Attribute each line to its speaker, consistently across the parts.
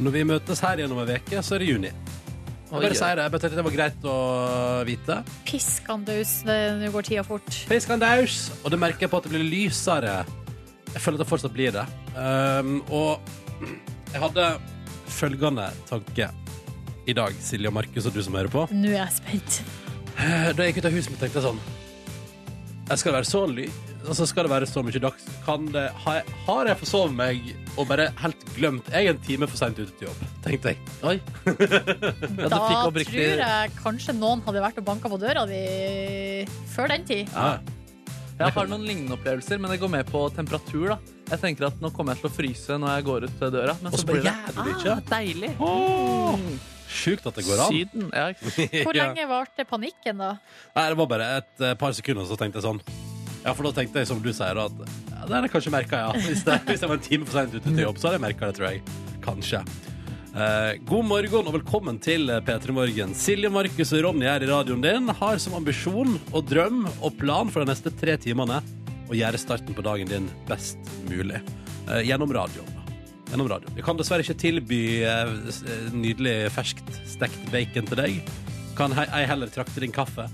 Speaker 1: Når vi møtes her gjennom ei uke, så er det juni. Jeg
Speaker 2: Oi,
Speaker 1: bare
Speaker 2: oi.
Speaker 1: sier det. Jeg bare tenkte det var greit å vite.
Speaker 3: Piskandaus, nå går tida fort.
Speaker 1: Priskandaus! Og det merker jeg på at det blir lysere. Jeg føler at det fortsatt blir det. Um, og jeg hadde følgende tanke i dag, Silje og Markus og du som hører på.
Speaker 3: Nå er jeg spent.
Speaker 1: Eh, Da jeg gikk ut av huset mitt, tenkte jeg sånn jeg Skal det være så ly altså, Skal det være så mye dags? Kan det, har, jeg, har jeg forsovet meg og bare helt glemt Jeg er en time for seint ute til jobb, tenkte jeg.
Speaker 2: Oi. Ja, du
Speaker 3: Da
Speaker 2: fikk
Speaker 3: tror
Speaker 2: opp riktig-
Speaker 3: jeg kanskje noen hadde vært og banka på døra di før den tid.
Speaker 1: Ja.
Speaker 2: Jeg har noen lignende opplevelser, men det går med på temperatur. da. Jeg tenker at nå kommer jeg til å fryse når jeg går ut døra. Men
Speaker 1: Og
Speaker 2: så
Speaker 1: så
Speaker 2: blir det
Speaker 1: gjør du det ikke.
Speaker 2: ah, deilig.
Speaker 1: Sjukt at det går an.
Speaker 2: Syden. Ja.
Speaker 3: Hvor
Speaker 1: Ja.
Speaker 3: lenge varte panikken, da?
Speaker 1: Nei, det var bare et eh, par sekunder, så tenkte jeg sånn. Ja, for da tenkte jeg som du sier, at ja, det har jeg kanskje merka, ja. Hvis, det, hvis jeg var en time for seint ute til jobb, så hadde jeg merka det, tror jeg. Kanskje. Eh, god morgen og velkommen til eh, P3 Morgen. Silje, Markus og Ronny her i radioen din har som ambisjon og drøm og plan for de neste tre timene å gjøre starten på dagen din best mulig. Eh, gjennom radioen. da. Gjennom radioen. Vi kan dessverre ikke tilby eh, s- eh, nydelig ferskt stekt bacon til deg. Kan he- ei heller trakte din kaffe.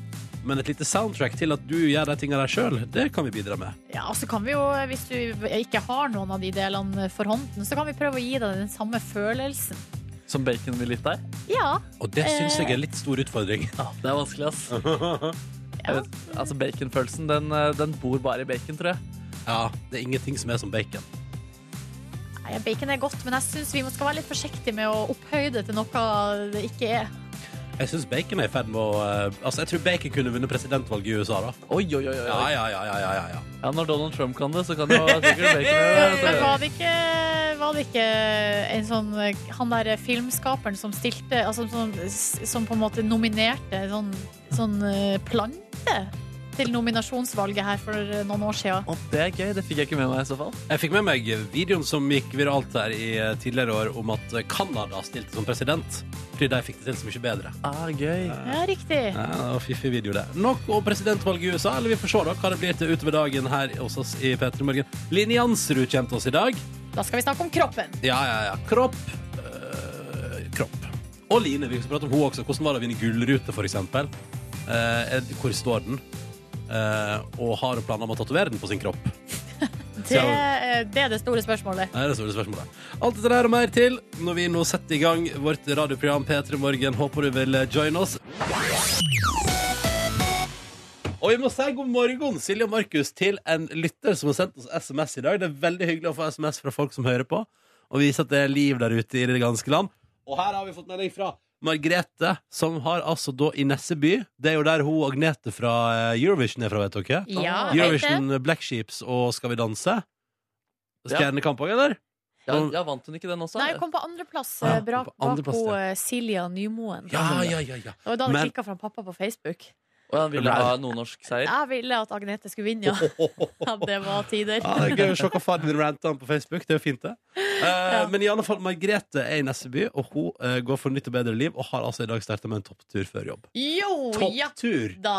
Speaker 1: Men et lite soundtrack til at du gjør de tinga der sjøl, det kan vi bidra med.
Speaker 3: Ja, så kan vi jo, Hvis du ikke har noen av de delene for hånden, så kan vi prøve å gi deg den samme følelsen.
Speaker 2: Som bacon vil gitt deg.
Speaker 3: Ja.
Speaker 1: Og det syns jeg er en litt stor utfordring.
Speaker 2: Ja, det er vanskelig, ass. Jeg vet, altså Baconfølelsen den, eh, den bor bare i bacon, tror jeg.
Speaker 1: Ja, Det er ingenting som er som bacon.
Speaker 3: Nei, Bacon er godt, men jeg syns vi må- skal være litt forsiktige med å opphøye det til noe det ikke er.
Speaker 1: Jeg syns bacon er i ferd med å eh, Altså, jeg tror bacon kunne vunnet presidentvalget i USA, da.
Speaker 2: Oi, oi, oi, oi.
Speaker 1: Ja, ja, ja, ja, ja, ja.
Speaker 2: Ja, Når Donald Trump kan det, så kan det jo sikkert bacon.
Speaker 3: Eh,
Speaker 2: altså,
Speaker 3: Men
Speaker 2: gjøre det.
Speaker 3: var det ikke, var det ikke en sånn Han der filmskaperen som stilte altså, som, som på en måte nominerte en sånn, sånn eh, plante til nominasjonsvalget her for noen år siden?
Speaker 2: Å, det er gøy. Det fikk jeg ikke med meg i så fall.
Speaker 1: Jeg fikk med meg videoen som gikk viralt her i eh, tidligere år, om at eh, Canada stilte som president fordi de fikk det til så mye bedre.
Speaker 2: Ah, gøy.
Speaker 3: Ja, riktig.
Speaker 1: Ja, det var fiffig video det Nok om presidentvalget i USA, eller vi får se da hva det blir til utover dagen her hos oss i P3 Morgen. Line Jansrud kommer til oss i dag.
Speaker 3: Da skal vi snakke om kroppen.
Speaker 1: Ja, ja, ja. Kropp. øh, kropp. Og Line. Vi skal prate om hun også. Hvordan var det å vinne gullrute, for eksempel? Eh, er- hvor står den? Eh, og har hun planer om å tatovere den på sin kropp?
Speaker 3: Det, eh, det er det store spørsmålet.
Speaker 1: Nei, det er det store spørsmålet. Alt dette der og mer til når vi nå setter i gang vårt radioprogram P3 Morgen. Håper du vil eh, joine oss. Og vi må si god morgen, Silje og Markus, til en lytter som har sendt oss SMS i dag. Det er veldig hyggelig å få SMS fra folk som hører på, og vise at det er liv der ute i det ganske land. Og her har vi fått melding fra Margrete, som har altså da i Nesseby Det er jo der hun Agnete fra eh, Eurovision er fra, vet dere?
Speaker 3: Ja, vet det.
Speaker 1: Eurovision, eh, Black Sheeps og Skal vi danse?
Speaker 2: Ja.
Speaker 1: Stjernekamp òg, eller?
Speaker 2: Ja, ja, Vant hun ikke den også?
Speaker 3: Nei, jeg kom på andreplass
Speaker 1: Ja,
Speaker 3: bra
Speaker 1: på
Speaker 3: bak
Speaker 1: andreplass,
Speaker 3: hun eh, Silja Nymoen.
Speaker 1: Ja, ja, ja, ja.
Speaker 3: Det var da det
Speaker 1: Men- Eh.
Speaker 3: klikka fra pappa på Facebook.
Speaker 2: Og han ville ha nordnorsk seier.
Speaker 3: Jeg ville at Agnete skulle vinne, ja. ja det var tider.
Speaker 1: Ja, det er gøy å se hva faren din ranter om på Facebook. Det er jo fint, det. Eh, Men i alle fall, Margrethe er i Nesseby, og hun eh, går for nytt og bedre liv. Og har altså i dag starta med en topptur før jobb.
Speaker 3: Jo, ja
Speaker 1: Topptur!
Speaker 3: da!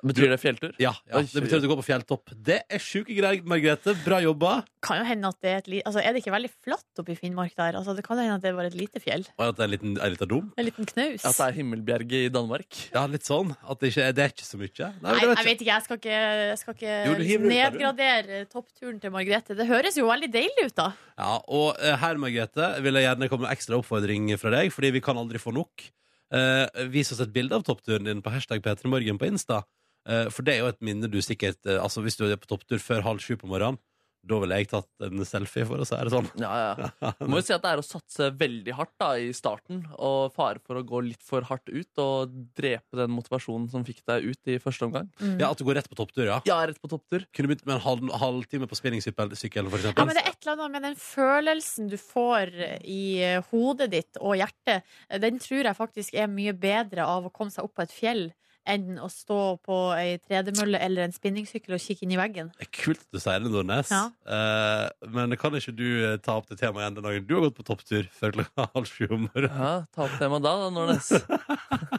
Speaker 2: Betyr det fjelltur?
Speaker 1: Ja, ja,
Speaker 2: Oi,
Speaker 1: det betyr at du går på fjelltopp. Det er sjuke greier, Margrethe. Bra jobba.
Speaker 3: Kan jo hende at det Er et li altså, Er det ikke veldig flatt oppe i Finnmark der? Altså, det kan jo hende at det var et lite fjell.
Speaker 1: Og at det er en liten, en liten dum.
Speaker 3: En liten knaus.
Speaker 2: At det er Himmelbjerget i Danmark?
Speaker 1: Ja, litt sånn. At det ikke er, det er ikke så mye. Nei,
Speaker 3: Nei,
Speaker 1: men det
Speaker 3: jeg
Speaker 1: er ikke-
Speaker 3: vet ikke, jeg skal ikke, jeg skal ikke
Speaker 1: Jo, du hiver ut, da,
Speaker 3: nedgradere toppturen til Margrethe. Det høres jo veldig deilig ut, da.
Speaker 1: Ja, og eh, her, Margrethe, vil jeg gjerne komme med ekstra oppfordring fra deg, fordi vi kan aldri få nok. Eh, vis oss et bilde av toppturen din på hashtag P3morgen på Insta. Eh, for det er jo et minne du sikkert eh, Altså, hvis du er på topptur før halv sju på morgenen, da ville jeg tatt en selfie, for å si det sånn.
Speaker 3: Mm.
Speaker 2: Ja, ja. Må jo si at det er å satse veldig hardt da, i starten, og fare for å gå litt for hardt ut og drepe den motivasjonen som fikk deg ut i første omgang.
Speaker 1: Ja, At du går rett på topptur, ja.
Speaker 2: Ja, rett på topptur.
Speaker 1: Kunne begynt med en halv, halvtime på spinningsykkel, sykkel, for
Speaker 3: Ja,
Speaker 1: eksempel.
Speaker 3: men det er et eller annet med den følelsen du får i eh, hodet ditt og hjertet, eh, den tror jeg faktisk er mye bedre av å komme seg opp på et fjell enn å stå på ei tredemølle eller en spinningsykkel og kikke inn i veggen.
Speaker 1: Det er kult at du sier det, Nordnes.
Speaker 3: Ja.
Speaker 1: Eh, men kan ikke du eh, ta opp det temaet igjen den dagen du har gått på topptur før klokka halv sju om morgenen?
Speaker 2: Ja, ta opp temaet da, da, Nordnes.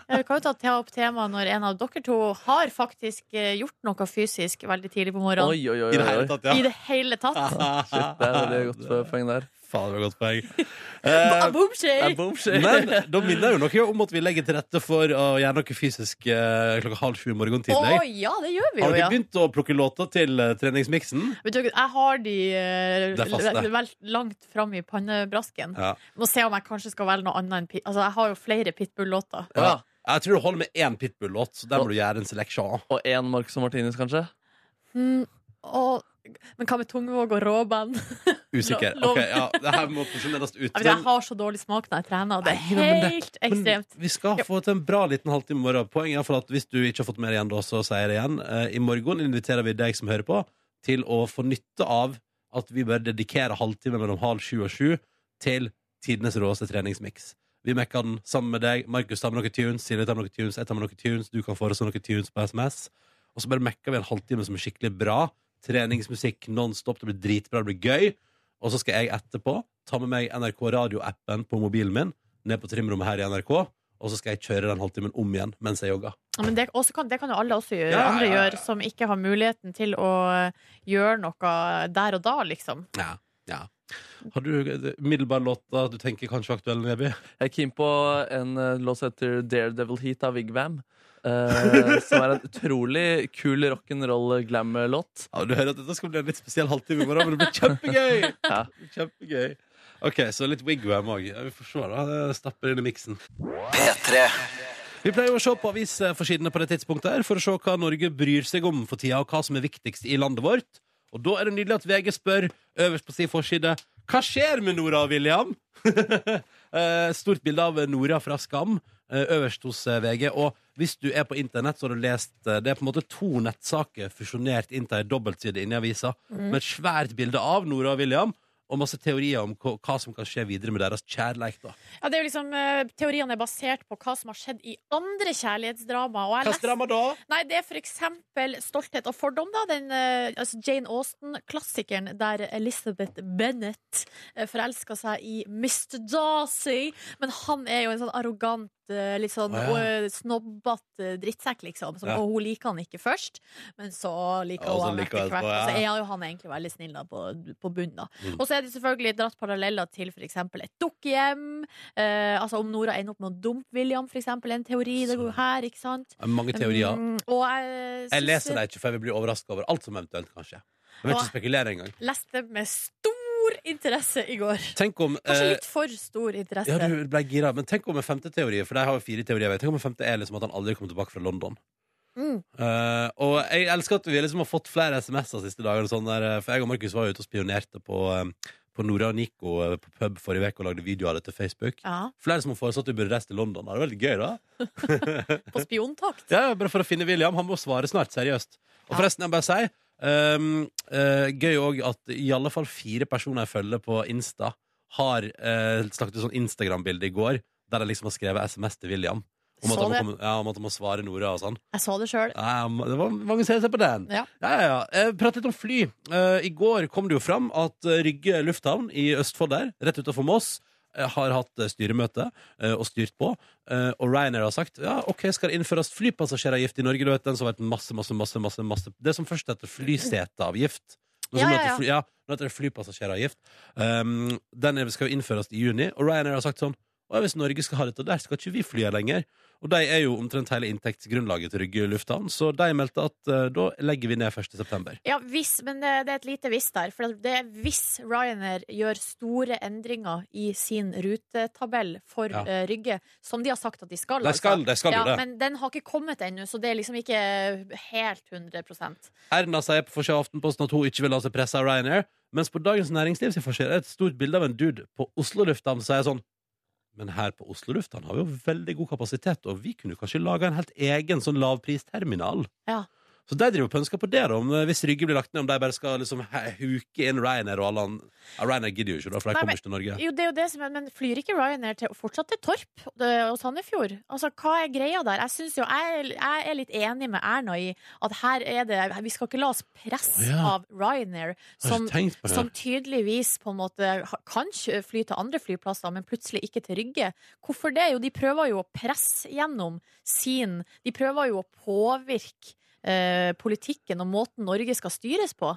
Speaker 3: Ja, vi kan jo ta ta opp temaet når en av dere to har faktisk eh, gjort noe fysisk veldig tidlig på morgenen.
Speaker 2: Oi, oi, oi.
Speaker 1: I det
Speaker 2: oi,
Speaker 1: hele
Speaker 2: oi.
Speaker 1: tatt, ja.
Speaker 3: I det hele tatt.
Speaker 2: Shit, det er veldig godt poeng der.
Speaker 1: Faen, det var godt poeng.
Speaker 3: Ba-
Speaker 1: Eh,
Speaker 3: boom,
Speaker 2: Det
Speaker 3: shay!
Speaker 2: er boom, shit.
Speaker 1: men da minner jo noe om at vi legger til rette for å gjøre noe fysisk eh, klokka halv sju i morgen
Speaker 3: Å
Speaker 1: tidlig.
Speaker 3: ja, det gjør vi
Speaker 1: Har
Speaker 3: jo,
Speaker 1: dere
Speaker 3: ja.
Speaker 1: begynt å plukke låter til eh, treningsmiksen?
Speaker 3: Vet du, jeg har de eh,
Speaker 1: Det er fast, det.
Speaker 3: vel- vel langt fram i pannebrasken.
Speaker 1: Ja.
Speaker 3: Må se om jeg kanskje skal velge noe annet enn Pit... Altså, jeg har jo flere Pitbull-låter.
Speaker 2: Ja.
Speaker 1: Jeg tror det holder med én Pitbull-låt, så der må du gjøre en seleksjon.
Speaker 2: Og én Marcus og Martinus, kanskje?
Speaker 3: Mm, og, men hva med Tungvåg og Råband? Jeg,
Speaker 1: Usikker.
Speaker 3: Lov- lov.
Speaker 1: Ok, ja, det her må posisjoneres ut.
Speaker 3: vet, Altså, jeg har så dårlig smak når jeg trener, og det er
Speaker 1: Nei, men det-
Speaker 3: helt
Speaker 1: Men
Speaker 3: ekstremt.
Speaker 1: vi skal få til en bra liten halvtime i morgen. Poenget er for at hvis du ikke har fått med deg igjen, da, så sier jeg det igjen. Eh, I morgen inviterer vi deg som hører på, til å få nytte av at vi bør dedikere halvtime mellom halv sju og sju til tidenes råeste treningsmiks. Vi mekker den sammen med deg. Markus tar med noen tunes, Silje tar med noen tunes, jeg tar med noen tunes, du kan foreslå noen tunes på SMS. Og så bare mekker vi en halvtime som er skikkelig bra. Treningsmusikk non-stop, det blir dritbra, det blir gøy. Og så skal jeg etterpå ta med meg NRK Radio-appen på mobilen min ned på trimrommet her i NRK, og så skal jeg kjøre den halvtimen om igjen mens jeg jogger.
Speaker 3: Ja, Men det, også kan, det kan jo alle også gjøre,
Speaker 1: Ja,
Speaker 3: andre
Speaker 1: ja, ja.
Speaker 3: gjøre, som ikke har muligheten til å gjøre noe der og da, liksom.
Speaker 1: Ja, ja. Har du eh, umiddelbare låter du tenker kanskje er aktuelle, Neby?
Speaker 2: Jeg er keen på en eh, låt som heter Daredevil Heat av Vigvam. eh, som er en utrolig kul rock'n'roll glam-låt.
Speaker 1: Ja, du hører at dette skal bli en litt spesiell halvtime i morgen, men det blir kjempegøy!
Speaker 2: Ja.
Speaker 1: Kjempegøy. OK, så litt wigwam òg. Ja, vi får se, da. Det stapper inn i miksen. Vi pleier jo å se på avisforsidene på det tidspunktet her, for å se hva Norge bryr seg om for tida, og hva som er viktigst i landet vårt. Og da er det nydelig at VG spør øverst på sin forside Hva skjer med Nora og William? Eh, Stort bilde av Nora fra Skam eh, øverst hos eh, VG. Og hvis du er på internett, så har du lest eh, Det er på en måte to nettsaker fusjonert inn til ei dobbeltside inne i avisa, med et svært bilde av Nora og William. Og masse teorier om hva, hva som kan skje videre med deres kjærleik. Da.
Speaker 3: Ja, det er jo liksom, eh, Teoriene er basert på hva som har skjedd i andre kjærlighetsdrama. Og jeg
Speaker 1: Hva
Speaker 3: leste-
Speaker 1: strammer da?
Speaker 3: Nei, det er for eksempel Stolthet og fordom, da. Den eh, altså Jane Austen-klassikeren der Elizabeth Bennett uh, forelska seg i Mr. Darcy. Men han er jo en sånn arrogant, eh, litt sånn
Speaker 1: Å, ja.
Speaker 3: eh, snobbete drittsekk, liksom. Som,
Speaker 1: Ja.
Speaker 3: Og hun liker han ikke først, men så liker
Speaker 1: Og så
Speaker 3: hun han
Speaker 1: liker
Speaker 3: etter
Speaker 1: hun
Speaker 3: hvert.
Speaker 1: etterpå, ja.
Speaker 3: Og så er jo han egentlig veldig snill da, på, på bunnen, da.
Speaker 1: Mm.
Speaker 3: Og så er det selvfølgelig dratt paralleller til for eksempel et dukkehjem. eh, altså om Nora ender opp med å dumpe William, for eksempel. En teori. Det går jo her, ikke sant?
Speaker 1: Eh, Mange teorier.
Speaker 3: Mm, og jeg,
Speaker 1: Jeg leser
Speaker 3: det.
Speaker 1: det ikke, for jeg vil bli overraska over alt som eventuelt kan skje. Jeg vil ikke
Speaker 3: Åh.
Speaker 1: spekulere engang.
Speaker 3: Leste med stor interesse i går.
Speaker 1: Tenk om
Speaker 3: Kanskje
Speaker 1: eh,
Speaker 3: litt for stor interesse.
Speaker 1: ja, du ble gira, men tenk om en femte teori, for de har jo fire teorier. jeg vet. Tenk om en femte er liksom at han aldri kommer tilbake fra London.
Speaker 3: Mm.
Speaker 1: Eh, og jeg elsker at vi liksom har fått flere SMS-er siste dager, sånn der, eh, for jeg og Markus var jo ute og spionerte på, eh, på Nora og Nico eh, på pub forrige uke og lagde video av det til Facebook.
Speaker 3: Ja,
Speaker 1: Flere som har foreslått at vi burde reise til London. Det er veldig gøy, da.
Speaker 3: på spiontakt.
Speaker 1: Ja, ja, bare for å finne William. Han må svare snart, seriøst. Og
Speaker 3: Ja.
Speaker 1: forresten, jeg må bare si ehm, eh, Gøy òg at i alle fall fire personer jeg følger på Insta, har uh, snakket ut sånn Instagram-bilde i går der de liksom har skrevet SMS til William. Om
Speaker 3: Så
Speaker 1: at, han må,
Speaker 3: det.
Speaker 1: komme, ja, om at han må svare Nora og sånn.
Speaker 3: Jeg så det sjøl.
Speaker 1: Ja, det var mange som ser på den.
Speaker 3: Ja.
Speaker 1: Ja, ja, ja. Eh, Prat litt om fly. Eh, I går kom det jo fram at eh, Rygge lufthavn i Østfold der, rett utenfor Moss, eh, har hatt eh, styremøte eh, og styrt på. Eh, Og Ryanair har sagt ja, ok, skal det innføres flypassasjeravgift i Norge. Du vet den som har vært masse, masse, masse, masse, masse Det som først heter flyseteavgift. Nå som
Speaker 3: Ja, ja,
Speaker 1: heter
Speaker 3: ja.
Speaker 1: Fly, ja, nå heter det flypassasjeravgift. Um, den skal jo innføres i juni, og Ryanair har sagt sånn «Å, ja, hvis Norge skal ha dette der, skal ikke vi fly her lenger. Og de er jo omtrent hele inntektsgrunnlaget til Rygge lufthavn, så de meldte at eh, da legger vi ned 1. september.
Speaker 3: Ja, hvis, men det, det er et lite hvis der. For det er hvis Ryanair gjør store endringer i sin rutetabell for
Speaker 1: Ja.
Speaker 3: eh, Rygge, som de har sagt at de skal, altså.
Speaker 1: De skal, de skal
Speaker 3: ja,
Speaker 1: jo det.
Speaker 3: Men den har ikke kommet ennå, så det er liksom ikke helt 100
Speaker 1: Erna sier på forsida av Aftenposten at hun ikke vil la seg presse av Ryanair, mens på Dagens Næringsliv sin forside er et stort bilde av en dude på Oslo lufthavn som sier sånn men her på Oslo lufthavn har vi jo veldig god kapasitet, og vi kunne kanskje laga en helt egen sånn lavpristerminal.
Speaker 3: Ja.
Speaker 1: Så de driver og pønsker på det, da. Om, eh, hvis Rygge blir lagt ned, om de bare skal liksom he- huke inn Ryanair og alle andre. Ja, Ryanair gidder jo ikke, da, for de
Speaker 3: Nei,
Speaker 1: kommer
Speaker 3: men-
Speaker 1: ikke til Norge.
Speaker 3: Jo, det er jo det som er, men flyr ikke Ryanair til, fortsatt til Torp ø, og Sandefjord? Altså, hva er greia der? Jeg synes jo, jeg, jeg er litt enig med Erna i at her er det Vi skal ikke la oss
Speaker 1: Å,
Speaker 3: presse
Speaker 1: ja.
Speaker 3: av Ryanair,
Speaker 1: Har
Speaker 3: som,
Speaker 1: ikke tenkt på det.
Speaker 3: som tydeligvis på en måte ha- kan kjø- fly til andre flyplasser, men plutselig ikke til Rygge. Hvorfor det? Jo, de prøver jo å presse gjennom sin De prøver jo å påvirke ø, politikken og måten Norge skal styres på.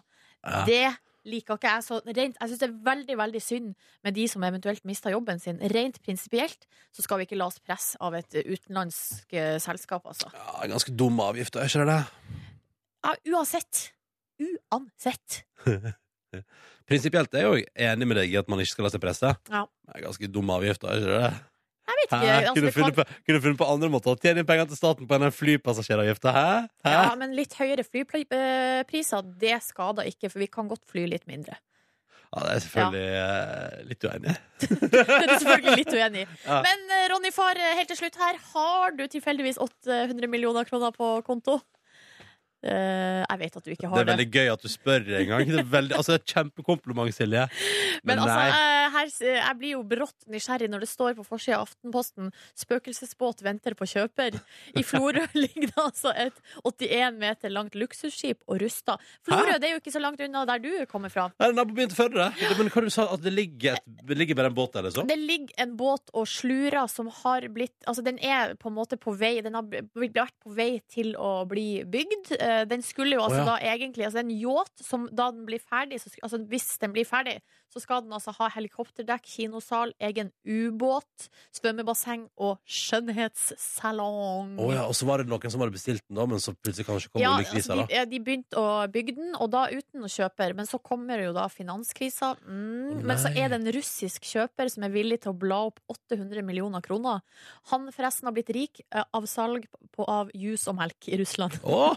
Speaker 1: Ja.
Speaker 3: Det liker ikke jeg så rent. Jeg syns det er veldig veldig synd med de som eventuelt mister jobben sin. Rent prinsipielt så skal vi ikke la oss presse av et utenlandsk eh, selskap, altså.
Speaker 1: Ja, ganske dum avgift, er ikke det det?
Speaker 3: Ja, uansett. Uansett.
Speaker 1: Prinsipielt er jeg jo enig med deg i at man ikke skal la seg presse.
Speaker 3: Ja.
Speaker 1: Det er ganske dum avgift, da, er ikke det?
Speaker 3: Jeg vet
Speaker 1: Hæ?
Speaker 3: ikke.
Speaker 1: kunne,
Speaker 3: Altså, det kan,
Speaker 1: funnet på, kunne funnet på andre måter å tjene inn penger til staten på enn den flypassasjeravgifta, hæ? hæ?
Speaker 3: ja, men litt høyere flypriser, det skader ikke, for vi kan godt fly litt mindre.
Speaker 1: Ja, det er jeg selvfølgelig eh, litt uenig.
Speaker 3: Det er du selvfølgelig litt uenig i.
Speaker 1: Ja.
Speaker 3: Men eh, Ronny Farr, eh, helt til slutt her, har du tilfeldigvis 800 millioner kroner på konto? Eh, jeg vet at du ikke
Speaker 1: Det
Speaker 3: har
Speaker 1: er
Speaker 3: det.
Speaker 1: veldig gøy at du spør en gang. Det er veldig, altså, det er et kjempekompliment, Silje.
Speaker 3: Men altså,
Speaker 1: nei.
Speaker 3: jeg, her, jeg blir jo brått nysgjerrig når det står på forsida av Aftenposten 'Spøkelsesbåt venter på kjøper'. I Florø ligger det altså et 81 meter langt luksusskip og rusta. Florø
Speaker 1: Hæ?
Speaker 3: det er jo ikke så langt unna der du kommer fra.
Speaker 1: Nei, naboen begynte før det. Men hva du sa at det ligger, et, det ligger bare en båt der, liksom?
Speaker 3: Det ligger en båt og slurer som har blitt Altså, den er på en måte på vei Den har b- vært på vei til å bli bygd. Eh, Den skulle jo altså
Speaker 1: Å, ja.
Speaker 3: da egentlig Altså, det er en yacht som da den blir ferdig så, sk- Altså, hvis den blir ferdig, så skal den altså ha helikopterdekk, kinosal, egen ubåt, svømmebasseng og skjønnhetssalong.
Speaker 1: Å ja, og så var det noen som hadde bestilt den, da, men så plutselig kanskje kom
Speaker 3: Ja,
Speaker 1: oljekrisa,
Speaker 3: altså,
Speaker 1: da.
Speaker 3: de, ja, de begynte å bygge den, og da uten å kjøpe. Men så kommer jo da finanskrisa.
Speaker 1: Å,
Speaker 3: Mm. Men så
Speaker 1: nei.
Speaker 3: er det en russisk kjøper som er villig til å bla opp 800 millioner kroner. Han forresten har blitt rik eh, av salg på, av juice og melk i Russland.
Speaker 1: Å!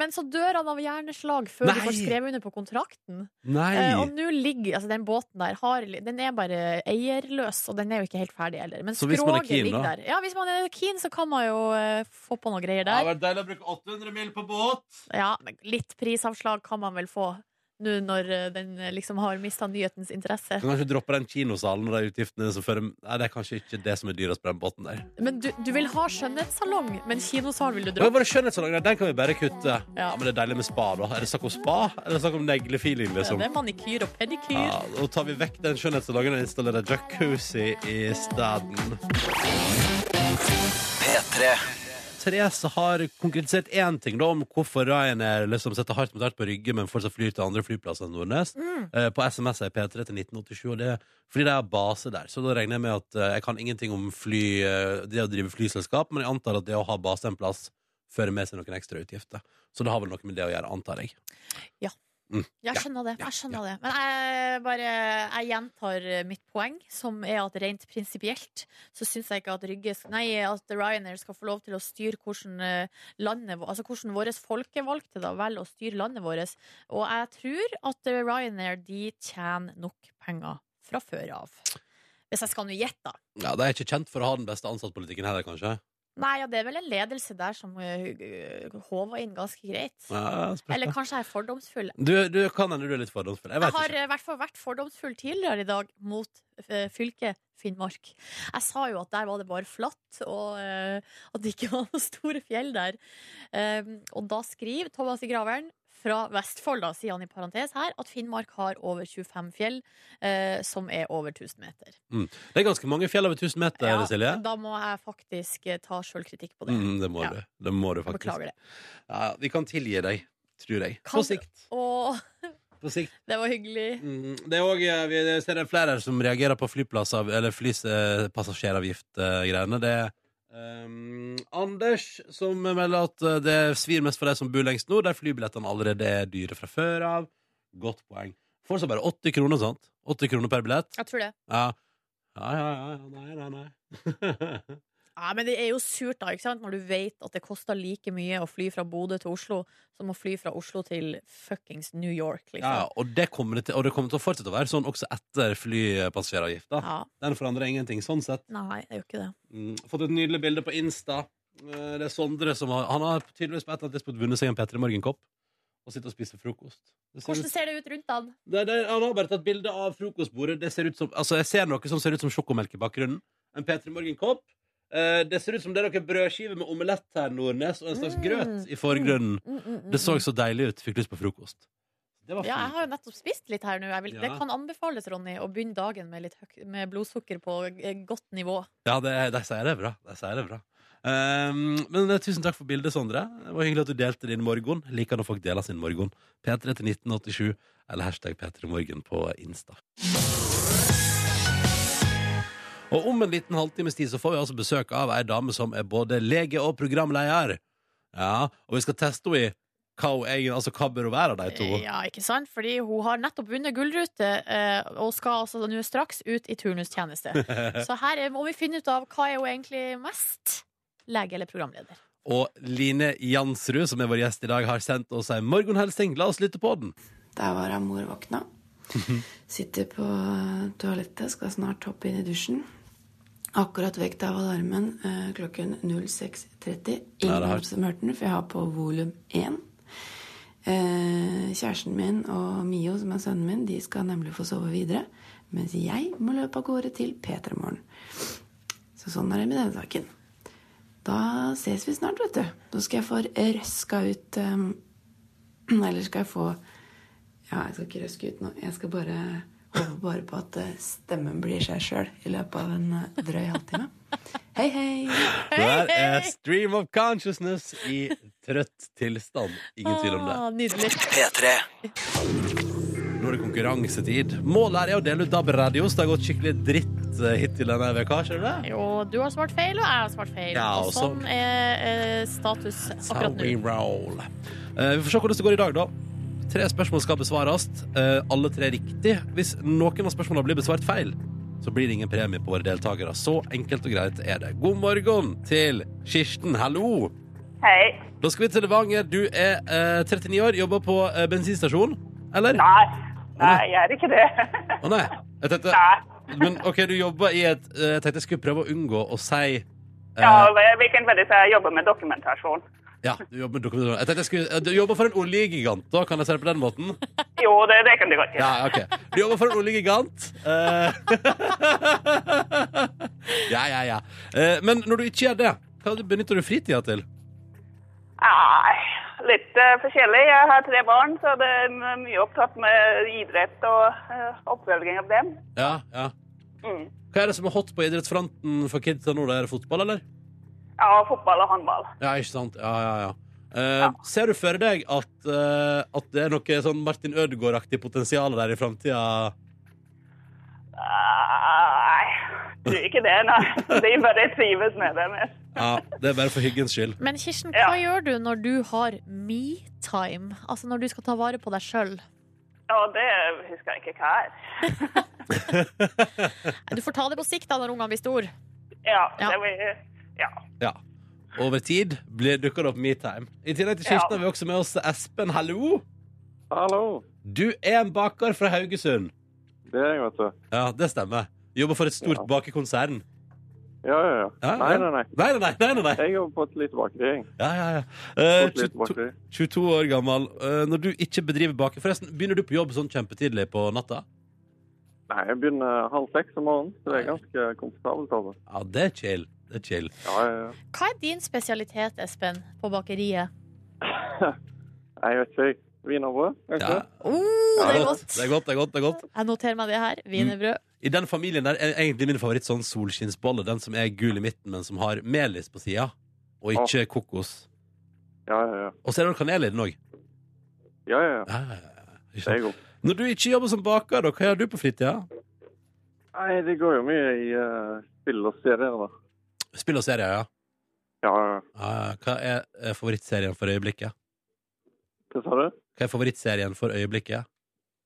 Speaker 3: Men så dør han av hjerneslag før
Speaker 1: Nei.
Speaker 3: de får skrevet under på kontrakten.
Speaker 1: Nei!
Speaker 3: Eh, og nå ligger altså den båten der har, Den er bare eierløs, og den er jo ikke helt ferdig heller. Men
Speaker 1: Så hvis man er
Speaker 3: skroget
Speaker 1: keen,
Speaker 3: ligger
Speaker 1: da?
Speaker 3: der. Ja, hvis man er keen, så kan man jo eh, få på noe greier
Speaker 1: Det
Speaker 3: der.
Speaker 1: hadde vært deilig å bruke 800 mil på båt!
Speaker 3: Ja, men litt prisavslag kan man vel få nå når eh, den eh, liksom har mista nyhetens interesse.
Speaker 1: Du kan kanskje droppe den kinosalen og de utgiftene som fører Nei, det er kanskje ikke det som er dyrest på den båten der.
Speaker 3: Men du, du vil ha skjønnhetssalong, men kinosal vil du
Speaker 1: Det
Speaker 3: dra
Speaker 1: var bare skjønnhetssalong, den kan vi bare kutte. Ja, Men det er deilig med spa, da. Er det snakk om spa? Er det snakk om neglefeeling, liksom?
Speaker 3: Det er manikyr og pedikyr.
Speaker 1: Ja, og tar vi vekk den skjønnhetssalongen og installerer jacuzzi i stedet.
Speaker 4: P3
Speaker 1: Therese har konkretisert én ting da, om hvorfor Ryanair liksom setter hardt mot hardt på Rygge, men fortsatt flyr til andre flyplasser enn Nordnes. eh, På SMS er P3 til 1987, og det er fordi de har base der. Så da regner jeg med at eh, jeg kan ingenting om fly, eh, det å drive flyselskap, men jeg antar at det å ha base en plass fører med seg noen ekstra utgifter. Så det har vel noe med det å gjøre, antar jeg.
Speaker 3: Jeg skjønner det.
Speaker 1: ja,
Speaker 3: jeg skjønner det Men jeg bare Jeg gjentar eh, mitt poeng, som er at rent prinsipielt så syns jeg ikke at Rygge sk- Nei, at Ryanair skal få lov til å styre hvordan eh, landet vå- Altså hvordan våre folkevalgte da velger å styre landet vårt. Og jeg tror at eh, Ryanair de tjener nok penger fra før av. Hvis jeg skal nå gjette, da.
Speaker 1: Ja, De er ikke kjent for å ha den beste ansattpolitikken heller, kanskje.
Speaker 3: Nei, ja, det er vel en ledelse der som eh, håva inn ganske greit.
Speaker 1: Ja, spørs
Speaker 3: Eller
Speaker 1: det.
Speaker 3: kanskje jeg er fordomsfull.
Speaker 1: du, du kan hende du er litt fordomsfull. Jeg
Speaker 3: Jeg
Speaker 1: vet
Speaker 3: har
Speaker 1: ikke.
Speaker 3: i hvert fall vært fordomsfull tidligere i dag mot eh, fylket Finnmark. Jeg sa jo at der var det bare flatt, og eh, at det ikke var noen store fjell der. Ehm, og da skriver Thomas i Graveren fra Vestfold, da, sier han i parentes her, at Finnmark har over 25 fjell, eh, som er over 1000 meter.
Speaker 1: Det er ganske mange fjell over 1000 meter,
Speaker 3: Ja,
Speaker 1: Silje.
Speaker 3: Da må jeg faktisk eh, ta sjølkritikk på det.
Speaker 1: Mm, det må
Speaker 3: Ja.
Speaker 1: du. Det må du faktisk.
Speaker 3: Beklager det.
Speaker 1: Ja, vi kan tilgi deg, tror jeg.
Speaker 3: Kan
Speaker 1: På
Speaker 3: du-
Speaker 1: sikt.
Speaker 3: Åh,
Speaker 1: På sikt.
Speaker 3: det var hyggelig.
Speaker 1: Mm, det er òg Vi ser det er flere her som reagerer på flyplasser Eller eh, flypassasjeravgift-greiene. eh, Det er ehm, Anders som melder at eh, det svir mest for de som bor lengst nord, der flybillettene allerede er dyre fra før av. Godt poeng. Fortsatt bare 80 kroner, sant? 80 kroner per billett.
Speaker 3: Jeg tror det.
Speaker 1: Ja, ja, ja. ja, ja nei, nei, nei.
Speaker 3: Ja, men det er jo surt da, ikke sant? Når du vet at det koster like mye å fly fra Bodø til Oslo som å fly fra Oslo til fuckings New York,
Speaker 1: ja,
Speaker 3: liksom.
Speaker 1: og, det kommer det til, og det kommer til å fortsette å være sånn også etter flypassasjeravgifta.
Speaker 3: Ja,
Speaker 1: Den forandrer ingenting sånn sett.
Speaker 3: nei, det er jo ikke det.
Speaker 1: Mm, fått et nydelig bilde på Insta Eh, Det er Sondre som har Han har tydeligvis på et eller annet tidspunkt vunnet seg en P3 Morgen-kopp og sitter og spiser frokost. Det ser ut,
Speaker 4: Hvordan ser det ut rundt han?
Speaker 1: Nei, det er- han har bare tatt bilde av frokostbordet. Det ser ut som, altså, jeg ser noe som ser ut som sjokomelk i bakgrunnen. En P3 Morgen-kopp. Eh, Det ser ut som det er noen brødskiver med omelett her, Nordnes, og en slags
Speaker 4: Mm.
Speaker 1: grøt i forgrunnen.
Speaker 3: Mm,
Speaker 1: Det så så deilig ut. Fikk lyst på frokost. Det var
Speaker 3: Mhm. Ja, jeg
Speaker 1: fint.
Speaker 3: har jo nettopp spist litt her nå. Jeg vil,
Speaker 1: Ja.
Speaker 3: Det kan anbefales, Ronny, å begynne dagen med, litt høy, med blodsukker på eh, godt nivå.
Speaker 1: Ja, det, de sier det bra. De sier det bra. Ehm, men eh, tusen takk for bildet, Sondre. Det var hyggelig at du delte din morgen. Liker når folk deler sin morgen. P3 til 1987 eller hashtag P3morgen på Insta. Og om en liten halvtimes tid så får vi altså besøk av ei dame som er både lege og programleder. Ja, og vi skal teste henne i hva hun egentlig Altså hva bør hun være av de to?
Speaker 3: Ja, ikke sant? Fordi hun har nettopp vunnet gullrute eh, og skal altså nå straks ut i turnustjeneste. Så her er- må vi finne ut av hva er hun egentlig mest? Lege eller programleder?
Speaker 1: Og Line Jansrud, som er vår gjest i dag, har sendt oss ei morgenhelsing. La oss lytte på den.
Speaker 5: Der var hun mor våkna. Sitter på toalettet, skal snart hoppe inn i dusjen. Akkurat vekt av alarmen eh, klokken 06.30.
Speaker 1: det
Speaker 5: Ingen
Speaker 1: har-
Speaker 5: andre som hørte den, for jeg har på volum 1. Eh, kjæresten min og Mio, som er sønnen min, de skal nemlig få sove videre. Mens jeg må løpe av gårde til P3 Morgen. Så sånn er det med denne saken. Da ses vi snart, vet du. Da skal jeg få røska ut eh, Eller skal jeg få ja, jeg skal ikke røske ut nå. Jeg skal bare håpe bare på at eh, stemmen blir seg sjøl i løpet av en eh, drøy halvtime. Hei, hei!
Speaker 1: Der er eh, Stream of Consciousness i trøtt tilstand. Ingen tvil om det.
Speaker 3: Ah, nydelig.
Speaker 1: Nå er det konkurransetid. Målet er å dele ut DAB-radios. Det har gått skikkelig dritt eh, hittil denne veka, ser du det?
Speaker 3: Jo, du har svart feil, og jeg har svart feil.
Speaker 1: Ja,
Speaker 3: og
Speaker 1: og
Speaker 3: sånn
Speaker 1: sånn.
Speaker 3: er eh, status
Speaker 1: How
Speaker 3: akkurat
Speaker 1: we
Speaker 3: nå.
Speaker 1: roll. Eh, vi får se hvordan det går i dag, da. Tre spørsmål skal besvares. eh, alle tre riktig. Hvis noen av spørsmålene blir besvart feil, så blir det ingen premie på våre deltakere. Så enkelt og greit er det. God morgen til Kirsten. Hallo.
Speaker 6: Hei.
Speaker 1: Da skal vi til Levanger. Du er eh, 39 år, jobber på eh, bensinstasjon, eller?
Speaker 6: Nei. Nei, jeg er ikke det.
Speaker 1: Å nei. Jeg tenkte,
Speaker 6: Nei.
Speaker 1: Men OK, du jobber i et eh, Jeg tenkte jeg skulle prøve å unngå å si eh,
Speaker 6: Ja, hvilken veldig så jeg jobber med dokumentasjon.
Speaker 1: ja, du jobber med dokumentasjon. Jeg tenkte jeg skulle eh, Du jobber for en oljegigant, da? Kan jeg si det på den måten?
Speaker 6: Jo, det, det kan du godt gjøre.
Speaker 1: Ja, OK. Du jobber for en oljegigant. eh, ja, ja, ja. Eh, men når du ikke gjør det, hva benytter du fritida til?
Speaker 6: Nei, litt eh, forskjellig. Jeg har tre barn, så det er m- mye opptatt med idrett og eh, oppfølging av dem.
Speaker 1: Ja, ja.
Speaker 6: Mm.
Speaker 1: Hva er det som er hot på idrettsfronten for kidsa nå? Det er fotball, eller?
Speaker 6: Ja, fotball og håndball.
Speaker 1: Ja, ikke sant? Ja, ja, ja. Eh, Ser du for deg at, eh, at det er noe sånn Martin Ødegaard-aktig potensial der i framtida?
Speaker 6: Nei, tror ikke det, nei. De bare trives med det. men-
Speaker 1: Ja, det er bare for hyggens skyld.
Speaker 3: Men Kirsten,
Speaker 6: Ja.
Speaker 3: hva gjør du når du har me-time? Altså når du skal ta vare på deg sjøl?
Speaker 6: Og det husker jeg ikke hva er.
Speaker 3: Du får ta det på sikt da når ungene blir store.
Speaker 6: Ja,
Speaker 3: Ja.
Speaker 6: det blir... Ja.
Speaker 1: Ja. Over tid blir dukker det opp metime. I tillegg til Kirsten
Speaker 6: Ja.
Speaker 1: har vi også med oss Espen. Hallo!
Speaker 7: Hallo.
Speaker 1: Du er en baker fra Haugesund.
Speaker 7: Det er jeg, vet du.
Speaker 1: Ja, det stemmer. Jobber for et stort
Speaker 7: Ja.
Speaker 1: bakekonsern.
Speaker 7: Ja, ja, ja.
Speaker 1: Ja,
Speaker 7: nei,
Speaker 1: ja.
Speaker 7: nei, nei.
Speaker 1: Nei, nei, nei! nei, nei.
Speaker 7: Jeg jobber på et lite bakeri. jeg.
Speaker 1: Ja, ja, ja.
Speaker 7: På
Speaker 1: Eh,
Speaker 7: et lite
Speaker 1: 22,
Speaker 7: bakeri.
Speaker 1: 22 år gammel. Eh, når du ikke bedriver baker Forresten, begynner du på jobb sånn kjempetidlig på natta?
Speaker 7: Nei, jeg begynner halv seks om morgenen, så det er ganske komfortabelt. Altså.
Speaker 1: Ja, det er chill. Det er chill.
Speaker 7: Ja, ja, ja.
Speaker 3: Hva er din spesialitet, Espen, på bakeriet?
Speaker 7: Nei, Jeg vet ikke, jeg. Wienerbrød, kanskje?
Speaker 1: Ja.
Speaker 3: Oh, det er godt!
Speaker 1: Det er godt, det er godt, det er godt.
Speaker 3: Jeg noterer meg det her. Wienerbrød.
Speaker 1: I den familien der er egentlig min favoritt sånn solskinnsbolle. Den som er gul i midten, men som har melis på sida. Og ikke kokos.
Speaker 7: Ja, ja, ja.
Speaker 1: Og så er det kanel i den òg.
Speaker 7: ja, ja, ja.
Speaker 1: Ja, ja, ja. Ikke
Speaker 7: Det
Speaker 1: sant?
Speaker 7: er godt.
Speaker 1: Når du ikke jobber som baker, da, hva gjør du på fritida?
Speaker 7: Nei, det går jo mye i eh, spill og serier, da.
Speaker 1: Spill og serier, ja.
Speaker 7: Ja, ja. ja.
Speaker 1: Ja, ja. Hva er eh, favorittserien for øyeblikket?
Speaker 7: Hva sa du?
Speaker 1: Hva er favorittserien for øyeblikket?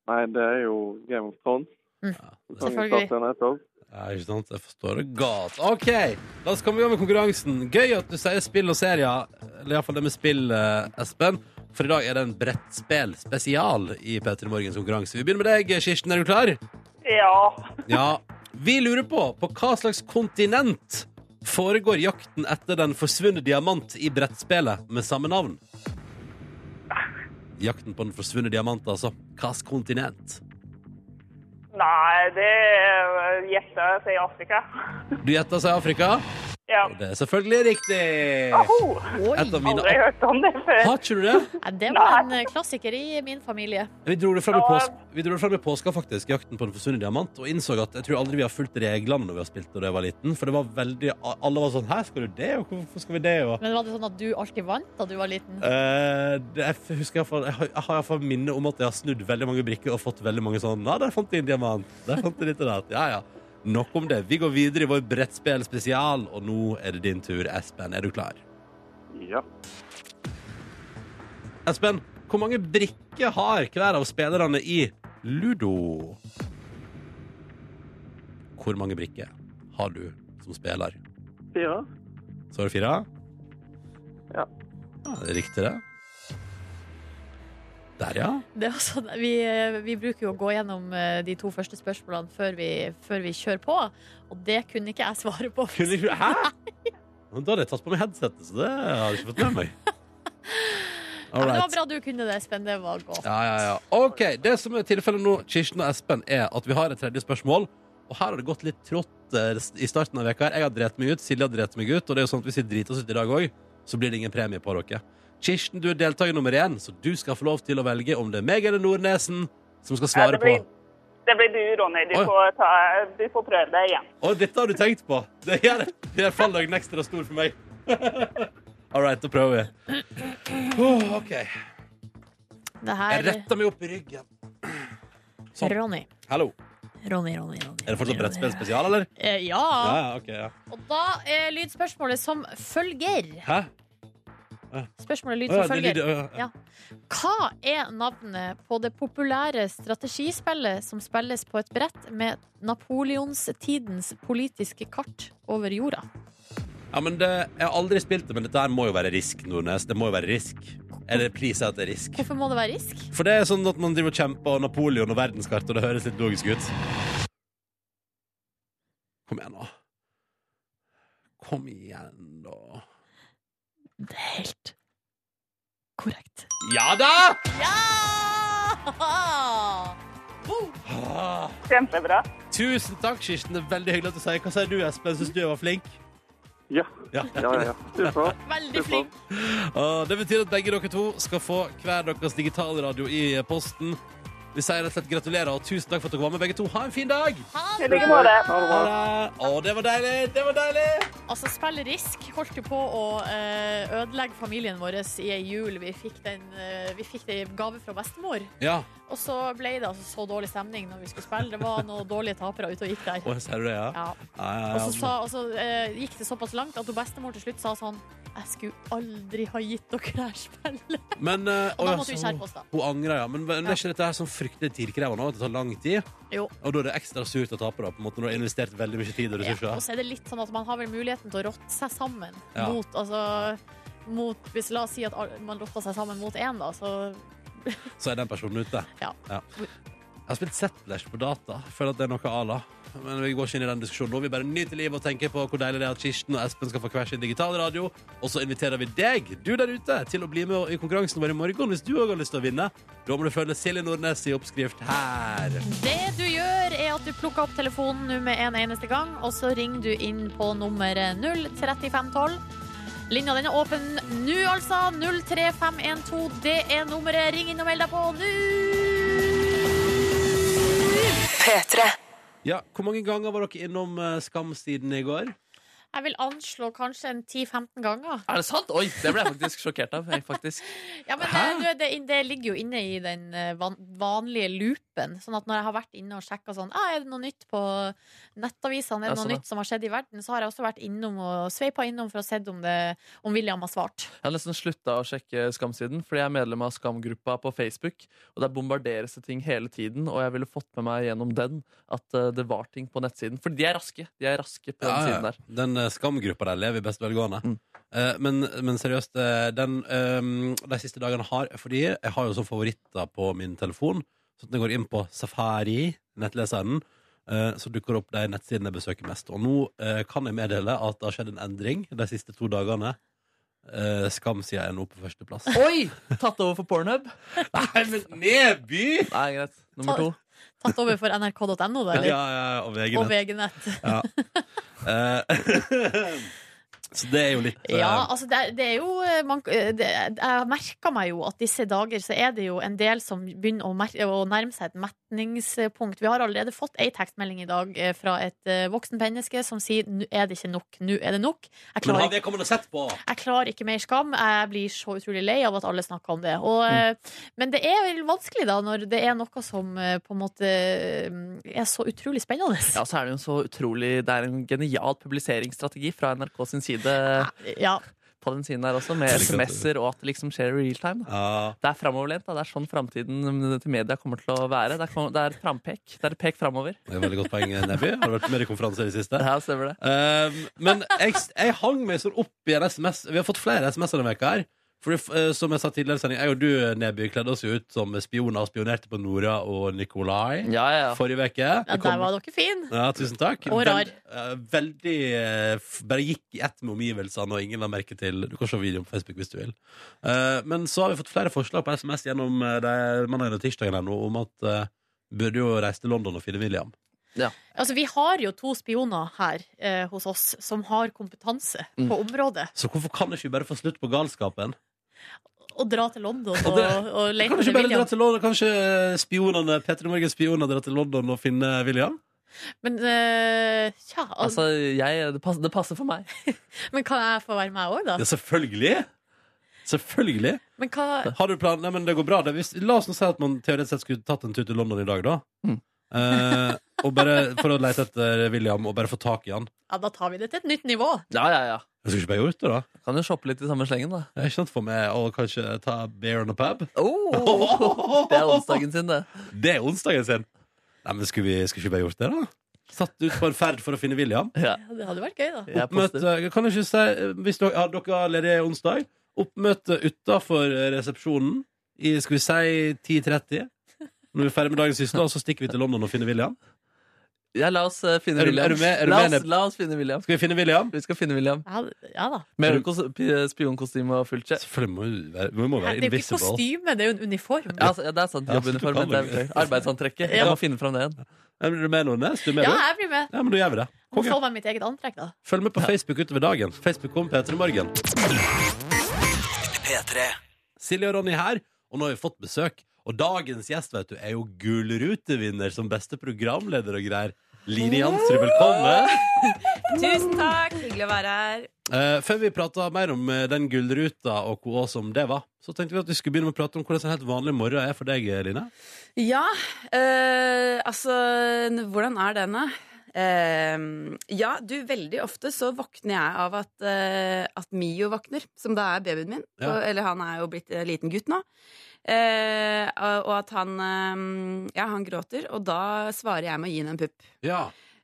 Speaker 7: Nei, det er jo Game of Thrones.
Speaker 1: Det-
Speaker 7: Sesongen
Speaker 3: Selvfølgelig.
Speaker 7: starter nettopp.
Speaker 1: Ja, ikke sant? Jeg forstår det godt. OK, la oss komme i gang med konkurransen. Gøy at du sier spill og serier. Eller iallfall det med spill, eh, Espen. For i dag er det en brettspill spesial i P3 Morgens konkurranse. Vi begynner med deg, Kirsten. Er du klar?
Speaker 6: Ja.
Speaker 1: Ja. Vi lurer på på hva slags kontinent foregår jakten etter den forsvunne diamant i brettspillet med samme navn? Jakten på den forsvunne diamant, altså. Hvilket kontinent?
Speaker 6: Nei, det eh, gjetter jeg sier Afrika.
Speaker 1: Du gjetta seg Afrika,
Speaker 6: Ja.
Speaker 1: og det er selvfølgelig riktig!
Speaker 6: Ho,
Speaker 3: Oi.
Speaker 1: Et av mine
Speaker 6: aldri hørt om det før.
Speaker 1: Har ikke du det?
Speaker 3: Nei, det var en eh, klassiker i min familie.
Speaker 1: Vi dro det fram i
Speaker 6: Ja.
Speaker 1: pås- vi dro det fram i påska, faktisk, jakten på den forsvunne diamant, og innså at jeg tror aldri vi har fulgt reglene når vi har spilt da jeg var liten, for det var veldig Alle var sånn 'Hæ, skal du det?' og 'Hvorfor skal vi det?' og
Speaker 3: Men var det sånn at du alltid vant da du var liten?
Speaker 1: Eh, det, jeg f- husker i hvert fall- jeg har, jeg har i hvert fall minne om at jeg har snudd veldig mange brikker og fått veldig mange sånn Ja, der fant jeg en diamant. Der fant jeg litt av det. Ja, ja. Nok om det. Vi går videre i vår brettspill spesial, og nå er det din tur, Espen. Er du klar?
Speaker 7: Ja.
Speaker 1: Espen, hvor mange brikker har hver av spillerne i Ludo? Hvor mange brikker har du som spiller?
Speaker 7: Fire.
Speaker 1: Så er det fire?
Speaker 7: Ja.
Speaker 1: ja det er riktig, det. Der, ja.
Speaker 3: Det er også, vi, eh, vi bruker jo å gå gjennom eh, de to første spørsmålene før vi, før vi kjører på, og det kunne ikke jeg svare på.
Speaker 1: Kunne ikke Hæ? Men da hadde jeg tatt på meg headsetet, så det hadde jeg ikke fått med meg.
Speaker 3: Ja,
Speaker 1: All
Speaker 3: men det var
Speaker 1: right.
Speaker 3: bra du kunne det, Espen. Det var godt.
Speaker 1: Ja, ja, ja. OK. Det som er tilfellet nå, Kirsten og Espen, er at vi har et tredje spørsmål. Og her har det gått litt trått eh, i starten av veka her. Jeg har drept meg ut, Silje har drept meg ut, og det er jo sånn at hvis vi driter oss ut i dag òg, så blir det ingen premie på dere. Kirsten, du er deltaker nummer én, så du skal få lov til å velge om det er meg eller Nordnesen som skal
Speaker 6: Ja,
Speaker 1: svare
Speaker 6: det blir-
Speaker 1: på.
Speaker 6: Det blir du, Ronny. Du
Speaker 1: Oi.
Speaker 6: får, ta, du får prøve deg igjen.
Speaker 1: Og dette har du tenkt på! Det gjør, det gjør fallhøyden ekstra stor for meg. All right, da prøver vi. Åh, OK.
Speaker 3: Det
Speaker 1: Jeg
Speaker 3: her
Speaker 1: retter meg opp i ryggen. sånn.
Speaker 3: Ronny.
Speaker 1: Hallo.
Speaker 3: Ronny, Ronny, Ronny.
Speaker 1: Er det fortsatt
Speaker 3: Ronny, Ronny.
Speaker 1: brettspill spesial, eller?
Speaker 3: Eh,
Speaker 1: Ja,
Speaker 3: ja.
Speaker 1: ja, ok, ja.
Speaker 3: Og da er lydspørsmålet som følger.
Speaker 1: Hæ?
Speaker 3: Spørsmålet
Speaker 1: Å,
Speaker 3: lyd
Speaker 1: ja,
Speaker 3: som
Speaker 1: det lyder,
Speaker 3: følger.
Speaker 1: å, ja.
Speaker 3: Ja. Hva er navnet på det populære strategispillet som spilles på et brett med napoleonstidens politiske kart over jorda?
Speaker 1: ja, men det, jeg har aldri spilt det, men dette her må jo være risk, Nordnes. Det må jo være risk. Eller please at det er risk.
Speaker 3: Hvorfor må det være risk?
Speaker 1: For det er sånn at man driver og kjemper og Napoleon og verdenskart, og det høres litt logisk ut. Kom igjen, nå. Kom igjen, da.
Speaker 3: Det er helt korrekt.
Speaker 1: Ja da!
Speaker 3: Ja!
Speaker 1: Ah,
Speaker 6: Kjempebra.
Speaker 1: tusen takk, Kirsten. Det er veldig hyggelig at du sier. Hva sier du, Espen? Syns du jeg var flink?
Speaker 7: Ja.
Speaker 1: Ja.
Speaker 7: Ja, ja. ja. Supert.
Speaker 3: Veldig flink.
Speaker 1: Og Ah, det betyr at begge dere to skal få hver deres digitalradio i posten. Vi sier rett og slett gratulerer, og tusen takk for at dere var med, begge to. Ha en fin dag!
Speaker 3: Ha det.
Speaker 6: I like måte.
Speaker 7: Ha det
Speaker 1: Ha
Speaker 7: bra.
Speaker 1: det! Å, det var deilig! Det var deilig!
Speaker 3: Altså, spill risk holdt jo på å eh, ødelegge familien vår i ei jul. Vi fikk, den, eh, vi fikk det i gave fra bestemor.
Speaker 1: Ja,
Speaker 3: Og så ble det altså så dårlig stemning når vi skulle spille. Det var noen dårlige tapere ute og gikk der.
Speaker 1: og sier du det, ja?
Speaker 3: Ja.
Speaker 1: Ja, ja,
Speaker 3: Og
Speaker 1: ja.
Speaker 3: så sa- og så eh, gikk det såpass langt at hun bestemor til slutt sa sånn Jeg skulle aldri ha gitt dere det her spillet.
Speaker 1: Men eh,
Speaker 3: Og da
Speaker 1: å, ja,
Speaker 3: måtte vi
Speaker 1: så-
Speaker 3: skjerpe oss, da.
Speaker 1: Hun angrer, ja. Men, men er ikke dette her sånn fryktelig tidkrevende? At det tar lang tid?
Speaker 3: Jo.
Speaker 1: Og da er det ekstra surt å tape, da, på en måte, når du har investert veldig mye tid og
Speaker 3: Ja,
Speaker 1: ressurser.
Speaker 3: og så er det litt sånn at man har vel muligheten til å rotte seg sammen
Speaker 1: Ja.
Speaker 3: mot altså mot, hvis La oss si at al- man rotter seg sammen mot én, da. Så
Speaker 1: så er den personen ute.
Speaker 3: Ja.
Speaker 1: Jeg har spilt Settlers på data. Føler at det er noe à la. Men vi går ikke inn i den diskusjonen nå. Vi bare nyter livet og tenker på hvor deilig det er at Kirsten og Espen skal få hver sin digitalradio. Og så inviterer vi deg, du der ute, til å bli med i konkurransen vår i morgen hvis du òg har lyst til å vinne. Da må du følge Silje Nordnes i oppskrift her.
Speaker 3: det du gjør, er at du plukker opp telefonen nå med en eneste gang, og så ringer du inn på nummer 03512. Linja den er åpen nå, altså. 03512, det er nummeret. Ring inn og meld deg på nå!
Speaker 1: Ja, Hvor mange ganger var dere innom eh, Skam-siden i går?
Speaker 3: Jeg vil anslå kanskje en 10-15 ganger.
Speaker 2: Er det sant? Oi, det ble jeg faktisk sjokkert av. Jeg faktisk.
Speaker 3: Ja, men
Speaker 1: Hæ?
Speaker 3: det, det, det ligger jo inne i den eh, van, vanlige loopen. Sånn at når jeg har vært inne og sjekka sånn ah, Er det noe nytt på nettavisene? Er
Speaker 2: Ja,
Speaker 3: det noe
Speaker 2: sånn, ja.
Speaker 3: nytt som har skjedd i verden? Så har jeg også vært innom og sveipa innom for å se om, det, om William har svart.
Speaker 2: Jeg har nesten slutta å sjekke Skamsiden, fordi jeg er medlem av Skamgruppa på Facebook. Og der bombarderes det ting hele tiden, og jeg ville fått med meg gjennom den at eh, det var ting på nettsiden. For de er raske. De er raske på den siden der.
Speaker 1: Den eh, skamgruppa der lever i best velgående.
Speaker 2: Mm.
Speaker 1: Eh, men, men seriøst, eh, den, eh, de siste dagene har Fordi jeg har jo sånne favoritter på min telefon. Så at jeg går inn på Safari, nettleseren, eh, så dukker det opp de nettsidene jeg besøker mest. Og nå eh, kan jeg meddele at det har skjedd en endring de siste to dagene. Eh, Skamsida er nå på førsteplass.
Speaker 2: Oi! Tatt over for Pornhub?
Speaker 1: Nei, men nedby!
Speaker 2: Nei, greit. Nummer to.
Speaker 3: Tatt over for nrk.no, da,
Speaker 1: Ja,
Speaker 3: eller?
Speaker 1: ja, ja, og
Speaker 3: Og
Speaker 1: VG-nett.
Speaker 3: VG-nett.
Speaker 1: Ja. Eh, så det er jo litt eh,
Speaker 3: Ja, altså det er, det er jo eh, man, eh, det, Jeg merker meg jo at disse dager så er det jo en del som begynner å, mer, å nærme seg et metningspunkt. Vi har allerede fått ei tekstmelding i dag eh, fra et eh, voksen menneske som sier nå er det ikke nok, nå er det nok. Jeg
Speaker 1: Men
Speaker 3: klarer,
Speaker 1: har vedkommende sett på?
Speaker 3: ikke- jeg klarer ikke mer skam. Jeg blir så utrolig lei av at alle snakker om det. Og,
Speaker 1: Mm.
Speaker 3: eh, Men det er vel vanskelig da når det er noe som eh, på en måte eh, er så utrolig spennende.
Speaker 2: Ja, så er det jo en så utrolig Det er en genial publiseringsstrategi fra NRK sin side
Speaker 3: Ja.
Speaker 2: på den siden her også, med
Speaker 1: Jeg liker at-
Speaker 2: SMS-er og at det liksom skjer i real time. Da.
Speaker 1: Ja.
Speaker 2: Det er framoverlent. da. Det er sånn framtiden til media kommer til å være. Det er, kom- det er frampek. Det er et pek framover.
Speaker 1: Det er et veldig godt poeng, eh, Nebby. Har du vært med i konferanser i det siste?
Speaker 2: Ja, stemmer det.
Speaker 1: Um, men jeg, jeg hang meg sånn opp i en SMS. Vi har fått flere SMS-er denne veka her. For eh, som jeg sa tidligere i sending, jeg og du, Neby, kledde oss jo ut som spioner og spionerte på Nora og Nikolai
Speaker 2: Ja, ja, ja.
Speaker 1: forrige uke.
Speaker 3: ja, der var dere fine.
Speaker 1: Ja, tusen takk.
Speaker 3: Og rar.
Speaker 1: eh, veldig eh, f- Bare gikk i ett med omgivelsene, og ingen la merke til Du kan se videoen på Facebook hvis du vil. Eh, men så har vi fått flere forslag på SMS gjennom eh, de mandagen og tirsdagen her nå om at eh, burde jo reise til London og finne William.
Speaker 3: Altså, vi har jo to spioner her eh, hos oss som har kompetanse
Speaker 2: Mm.
Speaker 3: på området.
Speaker 1: Så hvorfor kan ikke vi bare få slutt på galskapen?
Speaker 3: Å dra til London
Speaker 1: Og
Speaker 3: og,
Speaker 1: det-
Speaker 3: og, lete
Speaker 1: Kan du
Speaker 3: etter
Speaker 1: ikke bare dra
Speaker 3: William.
Speaker 1: til London? Kanskje spionene, Petter Morgens spioner drar til London og finner William?
Speaker 3: Men, eh, tja, al-
Speaker 2: Altså, jeg, det, passer, det passer for meg.
Speaker 3: men kan jeg få være med òg, da?
Speaker 1: Ja, selvfølgelig! Selvfølgelig.
Speaker 3: Men hva,
Speaker 1: Har du plan? Nei, men det går bra. Det. Hvis, la oss nå si at man teoretisk sett skulle tatt en tur til London i dag, da.
Speaker 2: Mm.
Speaker 1: Eh, og bare For å lete etter William og bare få tak i han.
Speaker 3: ja, da tar vi det til et nytt nivå.
Speaker 2: Ja, ja, ja.
Speaker 1: Jeg skulle ikke bare gjort det, da.
Speaker 2: Jeg Kan jo shoppe litt i samme slengen, da.
Speaker 1: Jeg er kjent for meg å kanskje ta beer on a pub.
Speaker 2: Oh, det er onsdagen sin, det.
Speaker 1: Det er onsdagen sin! Nei, men skulle vi skulle ikke bare gjort det, da? Satt ut på en ferd for å finne William.
Speaker 2: Ja.
Speaker 3: Ja, det hadde vært gøy, da.
Speaker 2: Jeg er positiv.
Speaker 1: Oppmøte, kan jeg ikke si Hvis dere, ja, dere har ledig onsdag Oppmøte utenfor eh, resepsjonen I, skal vi si, 10.30 Når vi er ferdig med dagens sysla Og så stikker vi til London og finner William
Speaker 2: Ja, la oss eh, finne
Speaker 1: Er du-
Speaker 2: William.
Speaker 1: er du med- er du
Speaker 2: la,
Speaker 1: med,
Speaker 2: oss,
Speaker 1: Neb?
Speaker 2: la oss finne William.
Speaker 1: Skal vi finne William?
Speaker 2: Vi skal finne William.
Speaker 3: Ja, ja da.
Speaker 2: Med kos- pi- eh, spionkostyme og fullt sjef.
Speaker 1: Selvfølgelig må vi være, vi må
Speaker 3: Det
Speaker 1: være
Speaker 3: er jo ikke
Speaker 1: invisible
Speaker 3: kostyme, det er jo en uniform.
Speaker 2: Ja, altså, ja, det er sant.
Speaker 1: Ja, så du
Speaker 2: Jobbuniformen.
Speaker 1: kan
Speaker 2: det er
Speaker 1: det.
Speaker 2: Arbeidsantrekket.
Speaker 3: Ja.
Speaker 2: Jeg må finne fram det igjen.
Speaker 1: Er du med, Nordnes? Du er med,
Speaker 3: Ja,
Speaker 1: du?
Speaker 3: jeg blir med.
Speaker 1: Ja, men da gjør vi det
Speaker 3: Må
Speaker 1: Konge.
Speaker 3: få meg mitt eget antrekk, da.
Speaker 1: Følg med på Facebook utover dagen. Facebook kom Peter i morgen. Silje og Ronny her, og nå har vi fått besøk. Og dagens gjest vet du, er jo Gullrutevinner som beste programleder og greier. Line Jansrud, velkommen.
Speaker 4: Tusen takk. Hyggelig å være her.
Speaker 1: Eh, før vi prata mer om eh, den gullruta og hva som det var, så tenkte vi at vi skulle begynne med å prate om hvordan en helt vanlig morgen er for deg, Line.
Speaker 4: Ja, eh, altså n- Hvordan er den, da? Eh, ja, du, veldig ofte så våkner jeg av at, eh, at Mio våkner, som da er babyen min.
Speaker 1: Ja.
Speaker 4: Og, eller han er jo blitt en liten gutt nå. Eh, og, og at han eh, Ja, han gråter, og da svarer jeg med å gi henne en pupp.
Speaker 1: Ja.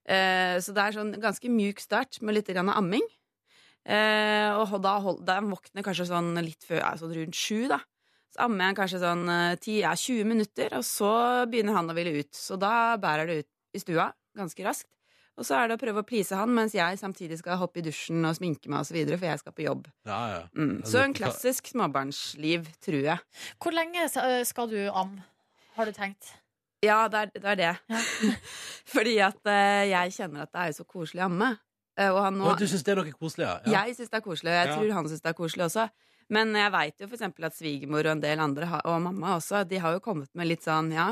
Speaker 4: Eh, så det er sånn ganske mjuk start med litt grann amming. Eh, og da, hold, da våkner kanskje sånn litt før, ja, sånn rundt sju, da. Så ammer jeg kanskje sånn eh, 10, ja, 20 minutter, og så begynner han å ville ut. Så da bærer det ut i stua ganske raskt. Og så er det å prøve å please han mens jeg samtidig skal hoppe i dusjen og sminke meg osv., for jeg skal på jobb.
Speaker 1: ja, ja.
Speaker 4: Mm. Så en klassisk småbarnsliv, tror jeg.
Speaker 3: Hvor lenge eh, skal du amme, har du tenkt?
Speaker 4: Ja, det er det. Er det.
Speaker 3: Ja.
Speaker 4: Fordi at eh, jeg kjenner at det er jo så koselig å amme. Eh, og han nå
Speaker 1: Å, du syns det er noe koselig, ja? ja.
Speaker 4: Jeg syns det er koselig, og jeg
Speaker 1: Ja.
Speaker 4: tror han syns det er koselig også. Men jeg veit jo for eksempel at svigermor og en del andre, har- og mamma også, de har jo kommet med litt sånn, ja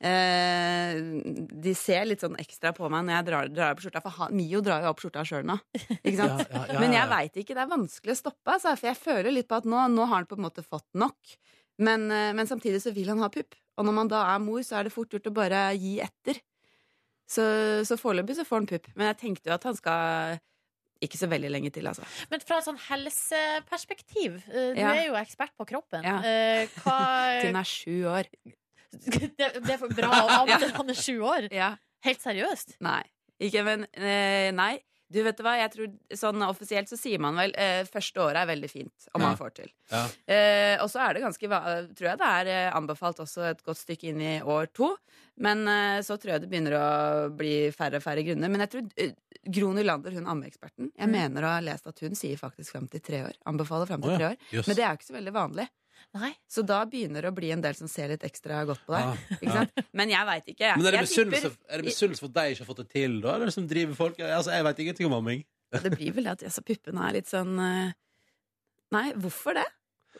Speaker 4: eh, De ser litt sånn ekstra på meg når jeg drar, drar opp skjorta, for han, Mio drar jo opp skjorta sjøl nå. Ikke
Speaker 1: Ja,
Speaker 4: sant?
Speaker 1: ja, ja,
Speaker 4: Men jeg
Speaker 1: ja.
Speaker 4: veit ikke. Det er vanskelig å stoppe, altså, for jeg føler litt på at nå, nå har han på en måte fått nok. Men, eh, men samtidig så vil han ha pupp. Og når man da er mor, så er det fort gjort å bare gi etter. Så, så foreløpig så får han pupp. Men jeg tenkte jo at han skal ikke så veldig lenge til, altså.
Speaker 3: Men fra et sånn helseperspektiv, eh, du
Speaker 4: Ja.
Speaker 3: er jo ekspert på kroppen.
Speaker 4: Ja.
Speaker 3: Eh, Hva
Speaker 4: Hun er sju år.
Speaker 3: det, det er for bra å amme når han er sju år. Helt seriøst?
Speaker 4: Nei. Ikke, men eh, Nei. Du vet du hva, jeg tror sånn Offisielt så sier man vel eh, første året er veldig fint, om man
Speaker 1: Ja.
Speaker 4: får til.
Speaker 1: Ja.
Speaker 4: Eh, og så er det ganske va- Tror jeg det er eh, anbefalt også et godt stykke inn i år to. Men eh, så tror jeg det begynner å bli færre og færre grunner. Men jeg tror eh, Gro Nylander, hun ammeeksperten, jeg
Speaker 3: Mm.
Speaker 4: mener å ha lest at hun sier faktisk fram til tre år. Anbefaler fram til
Speaker 1: Å,
Speaker 4: tre
Speaker 1: ja.
Speaker 4: år.
Speaker 1: Jøss.
Speaker 4: Men det er jo ikke så veldig vanlig.
Speaker 3: Nei.
Speaker 4: Så da begynner det å bli en del som ser litt ekstra godt på deg.
Speaker 1: Ah,
Speaker 4: Ikke
Speaker 1: ja.
Speaker 4: sant? Men jeg veit ikke. Jeg,
Speaker 1: Men er det
Speaker 4: jeg
Speaker 1: misunnelse
Speaker 4: tipper-
Speaker 1: er det misunnelse for at de ikke har fått det til, da? Eller som driver folk? Altså, jeg veit ingenting om amming.
Speaker 4: Det blir vel det at altså, puppene er litt sånn eh, Nei, hvorfor det?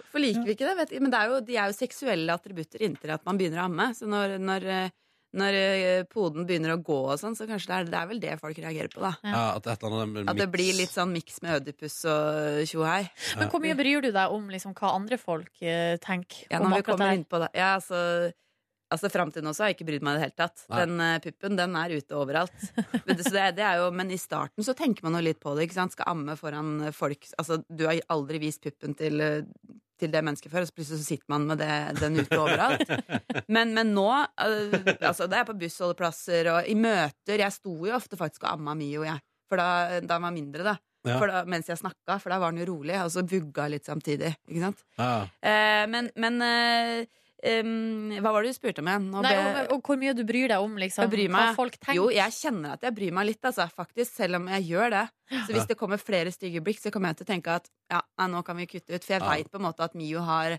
Speaker 4: Hvorfor liker vi ikke det? Vet ikke. Men det er jo, de er jo seksuelle attributter inntil at man begynner å amme. Så når, når, eh, når eh, poden begynner å gå og sånn, så kanskje det er, det er vel det folk reagerer på, da.
Speaker 3: Ja.
Speaker 1: Ja, at et eller annet
Speaker 4: At det blir litt sånn miks med ødipus og tjohei.
Speaker 3: Men hvor mye bryr du deg om liksom, hva andre folk eh, tenker?
Speaker 4: Ja,
Speaker 3: om
Speaker 4: når vi
Speaker 3: akkurat det
Speaker 4: kommer
Speaker 3: her?
Speaker 4: inn på det. Ja, altså, altså Fram til nå så har jeg ikke brydd meg i det hele tatt.
Speaker 1: Nei.
Speaker 4: Den eh, puppen den er ute overalt. Men det, så det, det er jo, men i starten så tenker man jo litt på det. ikke sant? Skal amme foran eh, folk Altså, Du har aldri vist puppen til, eh, til det mennesket før, og så plutselig så sitter man med det, den ute overalt. Men, men nå eh, altså Det er på bussholdeplasser og i møter. Jeg sto jo ofte faktisk og amma Mio, jeg. For da, da han var mindre, da.
Speaker 1: Ja.
Speaker 4: For da. Mens jeg snakka, for da var han jo rolig, og så vugga litt samtidig. ikke sant?
Speaker 1: ja.
Speaker 4: Eh, men men eh, em, hva var det du spurte om igjen? Nå
Speaker 3: Nei,
Speaker 4: ble-
Speaker 3: og, og hvor mye du bryr deg om liksom,
Speaker 4: Jeg bryr
Speaker 3: hva
Speaker 4: meg.
Speaker 3: folk tenker?
Speaker 4: Jo, jeg kjenner at jeg bryr meg litt, altså, faktisk, selv om jeg gjør det. Så
Speaker 1: Ja.
Speaker 4: hvis det kommer flere stygge blikk, så kommer jeg til å tenke at ja, nei, nå kan vi kutte ut. For jeg
Speaker 1: Ja.
Speaker 4: veit på en måte at Mio har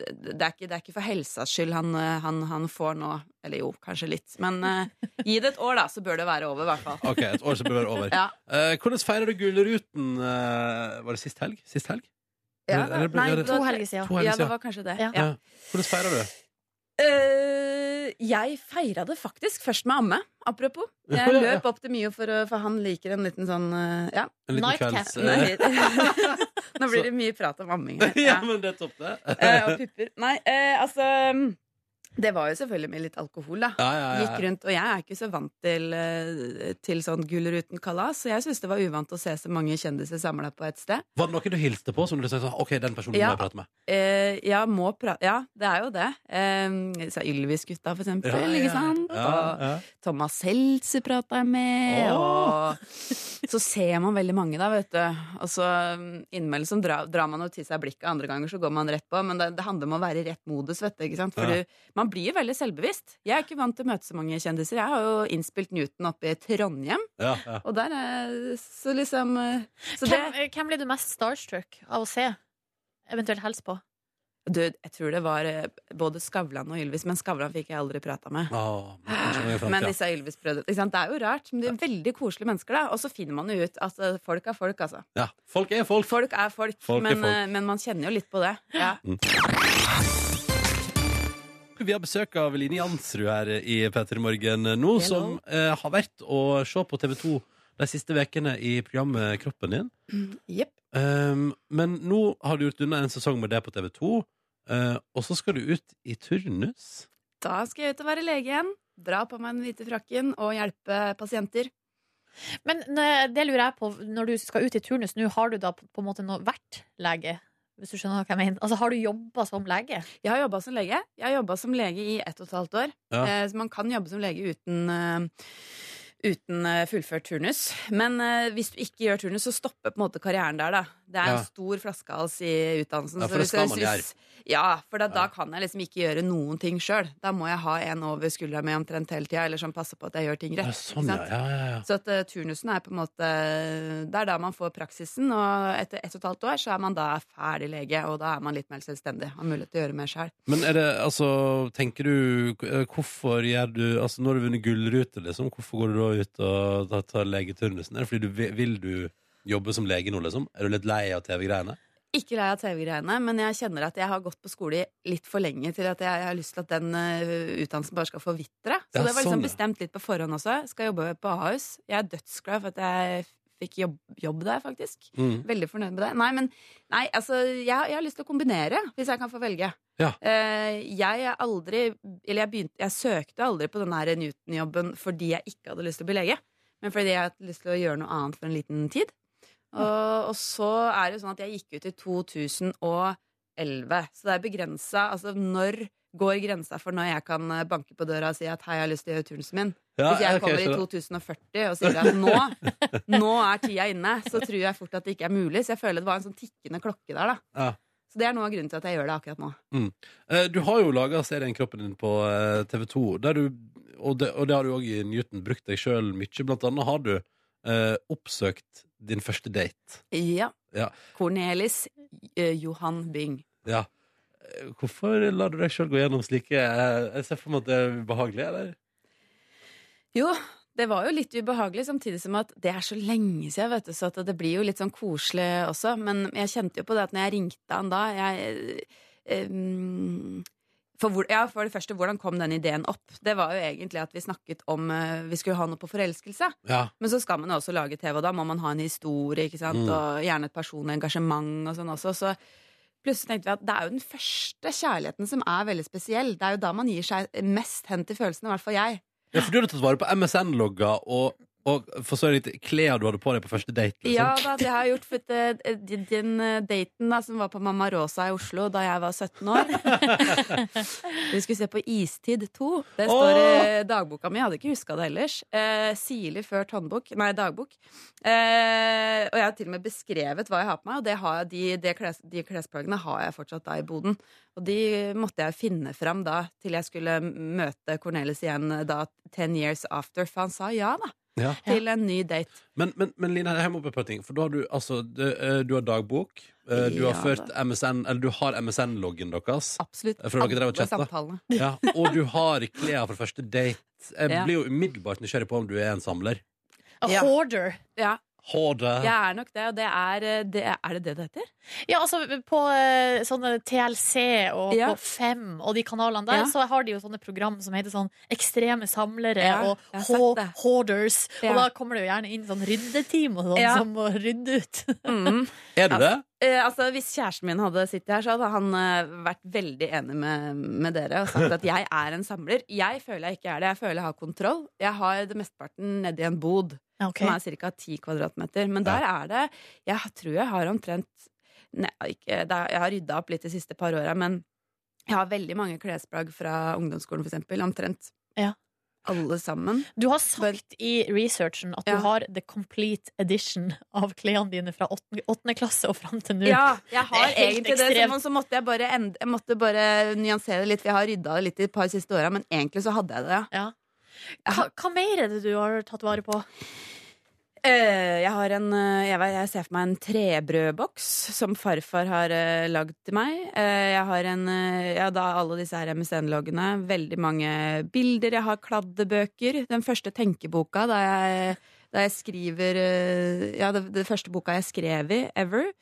Speaker 4: det er, ikke, det er ikke for helsas skyld han, eh, han, han får nå. Eller jo, kanskje litt. Men eh, gi det et år, da, så bør det være over, i hvert fall.
Speaker 1: OK, et år så bør det være over.
Speaker 4: Ja.
Speaker 1: Eh, hvordan feirer du Gullruten? eh, var det sist helg? Sist helg?
Speaker 4: Ja,
Speaker 1: Eller- eller ble-
Speaker 4: nei,
Speaker 1: ble det-
Speaker 4: det
Speaker 3: To
Speaker 4: var-
Speaker 3: helger siden.
Speaker 1: To helger
Speaker 4: Ja, det
Speaker 1: siden.
Speaker 4: var kanskje det.
Speaker 3: Ja.
Speaker 4: Ja.
Speaker 1: Ja. Hvordan feirer du?
Speaker 4: Eh, jeg feira det faktisk først med amme, apropos. Jeg løp opp til Mio, for, å- for han liker en liten sånn eh, Ja.
Speaker 1: En liten
Speaker 3: Nightcap.
Speaker 1: kvelds... eh,
Speaker 4: Nå blir det mye prat om amming her.
Speaker 1: ja,
Speaker 4: Ja.
Speaker 1: men det er topp, det.
Speaker 4: Eh, og pupper. Nei, eh, altså mm, Det var jo selvfølgelig med litt alkohol, da.
Speaker 1: Ja, ja, ja.
Speaker 4: Gikk rundt, og jeg er ikke så vant til, eh, til sånn Gullruten-kalas, så jeg syns det var uvant å se så mange kjendiser samla på et sted.
Speaker 1: Var det noen du hilste på som du sa sånn, OK, den personen
Speaker 4: Ja.
Speaker 1: må jeg prate med?
Speaker 4: Eh, ja, må pra ja, det er jo det. Eh, så Ylvis-gutta, for eksempel. Ikke sant?
Speaker 1: Ja,
Speaker 4: Og,
Speaker 1: ja.
Speaker 4: Thomas Seltzer prata jeg med,
Speaker 1: Åh!
Speaker 4: og så ser man veldig mange, da, vet du. Og så um, innimellom så drar, drar man jo til seg blikket, andre ganger så går man rett på. Men det, det handler om å være i rett modus, vet du. Ikke sant? For
Speaker 1: Ja.
Speaker 4: du, man blir jo veldig selvbevisst. Jeg er ikke vant til å møte så mange kjendiser. Jeg har jo innspilt Newton oppe i Trondheim,
Speaker 1: Ja, ja.
Speaker 4: og der er Så liksom eh, Så det
Speaker 3: Hvem, eh, hvem blir du mest starstruck av å se? Eventuelt helst på?
Speaker 4: Du, jeg tror det var eh, både Skavlan og Ylvis, men Skavlan fikk jeg aldri prata med.
Speaker 1: Åh, men kanskje noe i
Speaker 4: Men
Speaker 1: fremtiden.
Speaker 4: disse Ylvis-brødrene ikke sant? Det er jo rart, men de er veldig koselige mennesker, da. Og så finner man jo ut at eh, folk er folk, altså.
Speaker 1: Ja. Folk er folk.
Speaker 4: Folk er folk,
Speaker 1: Folk er
Speaker 4: men,
Speaker 1: folk.
Speaker 4: eh, men man kjenner jo litt på det. Ja.
Speaker 1: Vi har besøk av Line Jansrud her i P3 Morgen nå, som eh, har vært å se på TV 2 de siste ukene i programmet Kroppen din.
Speaker 4: Jepp.
Speaker 1: Um, men nå har du gjort unna en sesong med det på TV 2, eh, og så skal du ut i turnus.
Speaker 4: Da skal jeg ut og være lege igjen. Dra på meg den hvite frakken og hjelpe pasienter.
Speaker 3: Men eh, det lurer jeg på, når du skal ut i turnus nå, har du da på på en måte nå vært lege? Hvis du skjønner hva jeg mener. Altså, har du jobba som lege?
Speaker 4: Jeg har jobba som lege. Jeg har jobba som lege i ett og et halvt år.
Speaker 1: Ja.
Speaker 4: Eh, Så man kan jobbe som lege uten eh, Uten eh, fullført turnus. Men eh, hvis du ikke gjør turnus, så stopper på en måte karrieren der, da. Det er
Speaker 1: Ja.
Speaker 4: en stor flaskehals i utdannelsen.
Speaker 1: Ja,
Speaker 4: så
Speaker 1: for det
Speaker 4: hvis jeg
Speaker 1: skal man gjøre.
Speaker 4: synes- Ja, for da,
Speaker 1: Ja.
Speaker 4: da kan jeg liksom ikke gjøre noen ting sjøl. Da må jeg ha en over skuldra mi omtrent hele tida, eller som passer på at jeg gjør ting
Speaker 1: Ja,
Speaker 4: rett.
Speaker 1: sånn, ja.
Speaker 4: ikke sant?
Speaker 1: ja, ja, ja.
Speaker 4: Så at eh, turnusen er på en måte Det er da man får praksisen, og etter ett og et halvt år så er man da ferdig lege, og da er man litt mer selvstendig. Har mulighet til å gjøre mer sjøl.
Speaker 1: Men er det, altså, tenker du eh, Hvorfor gjør du Altså, nå har du vunnet gullrute, liksom. Hvorfor går du da ut og da tar legeturnusen? Er det fordi du vil, vil du jobbe som lege nå, liksom? Er du litt lei av TV-greiene?
Speaker 4: Ikke lei av TV-greiene, men jeg kjenner at jeg har gått på skole litt for lenge til at jeg, jeg har lyst til at den eh, utdannelsen bare skal forvitre. Så
Speaker 1: Ja,
Speaker 4: det var liksom
Speaker 1: sånn, ja.
Speaker 4: bestemt litt på forhånd også. Skal jobbe på Ahus. Jeg er dødsglad for at jeg fikk jobb, jobb der, faktisk.
Speaker 1: Mm.
Speaker 4: Veldig fornøyd med det. Nei, men nei, altså, jeg, jeg har lyst til å kombinere, hvis jeg kan få velge.
Speaker 1: Ja.
Speaker 4: Eh, jeg er aldri Eller jeg, begynte, jeg søkte aldri på den her Newton-jobben fordi jeg ikke hadde lyst til å bli lege, men fordi jeg hadde lyst til å gjøre noe annet for en liten tid. Og, og så er det jo sånn at jeg gikk ut i 2011, så det er begrensa altså når går grensa for når jeg kan eh, banke på døra og si at hei, jeg har lyst til å gjøre turnusen min.
Speaker 1: Ja,
Speaker 4: Hvis jeg
Speaker 1: ok,
Speaker 4: kommer i
Speaker 1: skjønner.
Speaker 4: 2040 og sier at nå, nå er tida inne, så tror jeg fort at det ikke er mulig. Så jeg føler det var en sånn tikkende klokke der, da.
Speaker 1: Ja.
Speaker 4: Så det er noe av grunnen til at jeg gjør det akkurat nå.
Speaker 1: Eh, Du har jo laga serien Kroppen din på eh, TV2, der du, og, det, og det har du òg i Newton brukt deg sjøl mye. Blant annet har du eh, oppsøkt din første date.
Speaker 4: Ja.
Speaker 1: Ja.
Speaker 4: Cornelis eh, Johan Byng.
Speaker 1: Ja. Eh, Hvorfor lar du deg sjøl gå gjennom slike eh, Jeg ser for meg at det er ubehagelig, eller?
Speaker 4: Jo, det var jo litt ubehagelig, samtidig som at det er så lenge siden, vet du, så at det blir jo litt sånn koselig også. Men jeg kjente jo på det at når jeg ringte han da jeg, eh, mm, for, hvor, ja, for det første, hvordan kom den ideen opp? Det var jo egentlig at vi snakket om eh, vi skulle ha noe på forelskelse.
Speaker 1: Ja.
Speaker 4: Men så skal man jo også lage TV, og da må man ha en historie, ikke sant?
Speaker 1: Mm.
Speaker 4: og gjerne et personlig engasjement og sånn også. Så plutselig tenkte vi at det er jo den første kjærligheten som er veldig spesiell. Det er jo da man gir seg mest hen til følelsene, i hvert fall jeg.
Speaker 1: ja, for du hadde tatt vare på MSN-logger og, og for så vidt klær du hadde på deg på første date. Liksom.
Speaker 4: Ja da, det har jeg gjort. For at, eh, de- den eh, daten da, som var på Mamma Rosa i Oslo da jeg var 17 år Vi skulle se på Istid 2. Det står i dagboka mi. Jeg hadde ikke huska det ellers. Eh, Sirlig ført håndbok. Nei, dagbok. Eh, og jeg har til og med beskrevet hva jeg har på meg, og det har jeg, de, det kles, de klesplaggene har jeg fortsatt da i boden. Og de måtte jeg finne fram da, til jeg skulle møte Cornelis igjen da ten years after. For han sa ja, da.
Speaker 1: Ja.
Speaker 4: Til en ny date.
Speaker 1: Men, men, men Lina, jeg må opp et par ting. For da har du altså Du, eh, du har dagbok. eh, Du har
Speaker 4: Ja,
Speaker 1: ført MSN Eller du har MSN-loggen deres.
Speaker 4: Absolutt.
Speaker 1: For dere drev og
Speaker 4: alle
Speaker 1: chatta.
Speaker 4: samtalene.
Speaker 1: Ja, og du har klær for første date. Jeg
Speaker 4: Ja.
Speaker 1: blir jo umiddelbart nysgjerrig på om du er en samler.
Speaker 3: A
Speaker 4: Ja.
Speaker 3: hoarder.
Speaker 4: Ja,
Speaker 1: Hårde.
Speaker 4: jeg er nok det, og det er eh, det, Er det det det heter?
Speaker 3: Ja, altså på eh, sånne TLC og
Speaker 4: Ja.
Speaker 3: på Fem og de kanalene der,
Speaker 4: Ja.
Speaker 3: så har de jo sånne program som heter sånn Ekstreme samlere
Speaker 4: Ja,
Speaker 3: og
Speaker 4: jeg har sett
Speaker 3: ho
Speaker 4: det.
Speaker 3: hoarders.
Speaker 4: Ja.
Speaker 3: Og da kommer det jo gjerne inn sånn ryddeteam og sånn
Speaker 4: Ja.
Speaker 3: som må rydde ut.
Speaker 4: Mm.
Speaker 1: Er du det?
Speaker 4: Eh, altså, Hvis kjæresten min hadde sittet her, så hadde han eh, vært veldig enig med, med dere og sagt at jeg er en samler. Jeg føler jeg ikke er det. Jeg føler jeg har kontroll. Jeg har det mesteparten nedi en bod,
Speaker 3: Ja, ok.
Speaker 4: som er ca. 10 kvadratmeter. Men der er det Jeg tror jeg har omtrent Nei, ikke, det er, Jeg har rydda opp litt de siste par åra, men jeg har veldig mange klesplagg fra ungdomsskolen, for eksempel. Omtrent
Speaker 3: Ja.
Speaker 4: alle sammen.
Speaker 3: Du har sagt i researchen at
Speaker 4: Ja.
Speaker 3: du har the complete edition av klærne dine fra åttende åttende klasse og fram til nå.
Speaker 4: Ja, jeg har
Speaker 3: Det er helt
Speaker 4: egentlig det.
Speaker 3: ekstremt.
Speaker 4: Så, så måtte jeg bare, end, jeg måtte bare nyansere det litt. for Jeg har rydda det litt de par siste åra, men egentlig så hadde jeg det, ja.
Speaker 3: Ja. Hva,
Speaker 4: Jeg har,
Speaker 3: hva mer er det du har tatt vare på?
Speaker 4: eh, jeg, har en, eh, jeg, vet- jeg ser for meg en trebrødboks som farfar har uh, lagd til meg. Eh, jeg har en, eh, ja, da alle disse her MSN-loggene. Veldig mange bilder. Jeg har kladdebøker. Den første tenkeboka da jeg, da jeg skriver eh, Ja, det, det første boka jeg skrev i ever.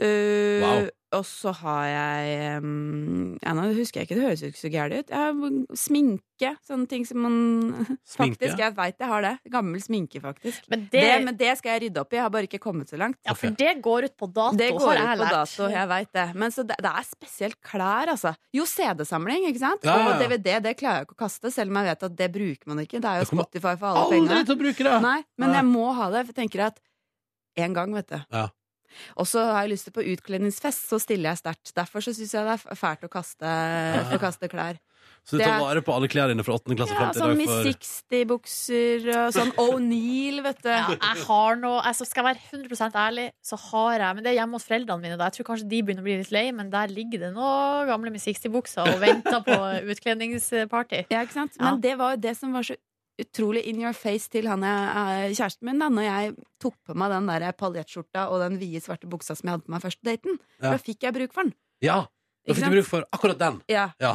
Speaker 4: Eh,
Speaker 1: Wow.
Speaker 4: Og så har jeg um, ja, Nå husker jeg ikke, det høres jo ikke så gærent ut. Jeg har sminke. Sånne ting som man
Speaker 1: Sminke?
Speaker 4: Faktisk, jeg veit jeg har det. Gammel sminke, faktisk.
Speaker 3: Men det,
Speaker 4: Det, men det skal jeg rydde opp i. Jeg har bare ikke kommet så langt.
Speaker 3: ja, for det går ut på dato,
Speaker 4: Det
Speaker 3: har
Speaker 4: går ut
Speaker 3: jeg
Speaker 4: på
Speaker 3: lært.
Speaker 4: dato, jeg vet det. Men så det, det er spesielt klær, altså. Jo, CD-samling, ikke sant?
Speaker 1: Ja, ja, ja.
Speaker 4: Og DVD, det klarer jeg ikke å kaste, selv om jeg vet at det bruker man ikke. Det er jo
Speaker 1: Det kommer
Speaker 4: Spotify for alle
Speaker 1: Aldri
Speaker 4: penga.
Speaker 1: til å bruke det!
Speaker 4: Nei, men
Speaker 1: Nei.
Speaker 4: jeg må ha det, for jeg tenker at en gang, vet du.
Speaker 1: Ja.
Speaker 4: Og så har jeg lyst til på utkledningsfest, så stiller jeg sterkt. Derfor så syns jeg det er fælt å kaste, å kaste klær.
Speaker 1: Så du
Speaker 4: Det
Speaker 1: tar
Speaker 4: er-
Speaker 1: vare på alle klærne dine fra 8. klasse
Speaker 4: Ja,
Speaker 1: frem til
Speaker 4: sånn
Speaker 1: i dag?
Speaker 4: Miss
Speaker 1: For...
Speaker 4: 60-bukser og sånn O'Neill, vet du.
Speaker 3: Ja, jeg har noe altså, Skal jeg være 100 ærlig, så har jeg Men det er hjemme hos foreldrene mine. Da. Jeg tror kanskje de begynner å bli litt lei, men der ligger det noen gamle med 60-bukser og venter på utkledningsparty.
Speaker 4: Ja, ikke sant?
Speaker 3: Ja.
Speaker 4: Men det var jo det som var så utrolig in your face til han jeg, eh, kjæresten min, da når jeg tok på meg den der paljettskjorta og den vide, svarte buksa som jeg hadde på meg første daten.
Speaker 1: Ja.
Speaker 4: For da fikk jeg bruk for den.
Speaker 1: Ja, da
Speaker 4: Ikke
Speaker 1: fikk
Speaker 4: sant?
Speaker 1: du bruk for akkurat den.
Speaker 4: Ja.
Speaker 1: Ja.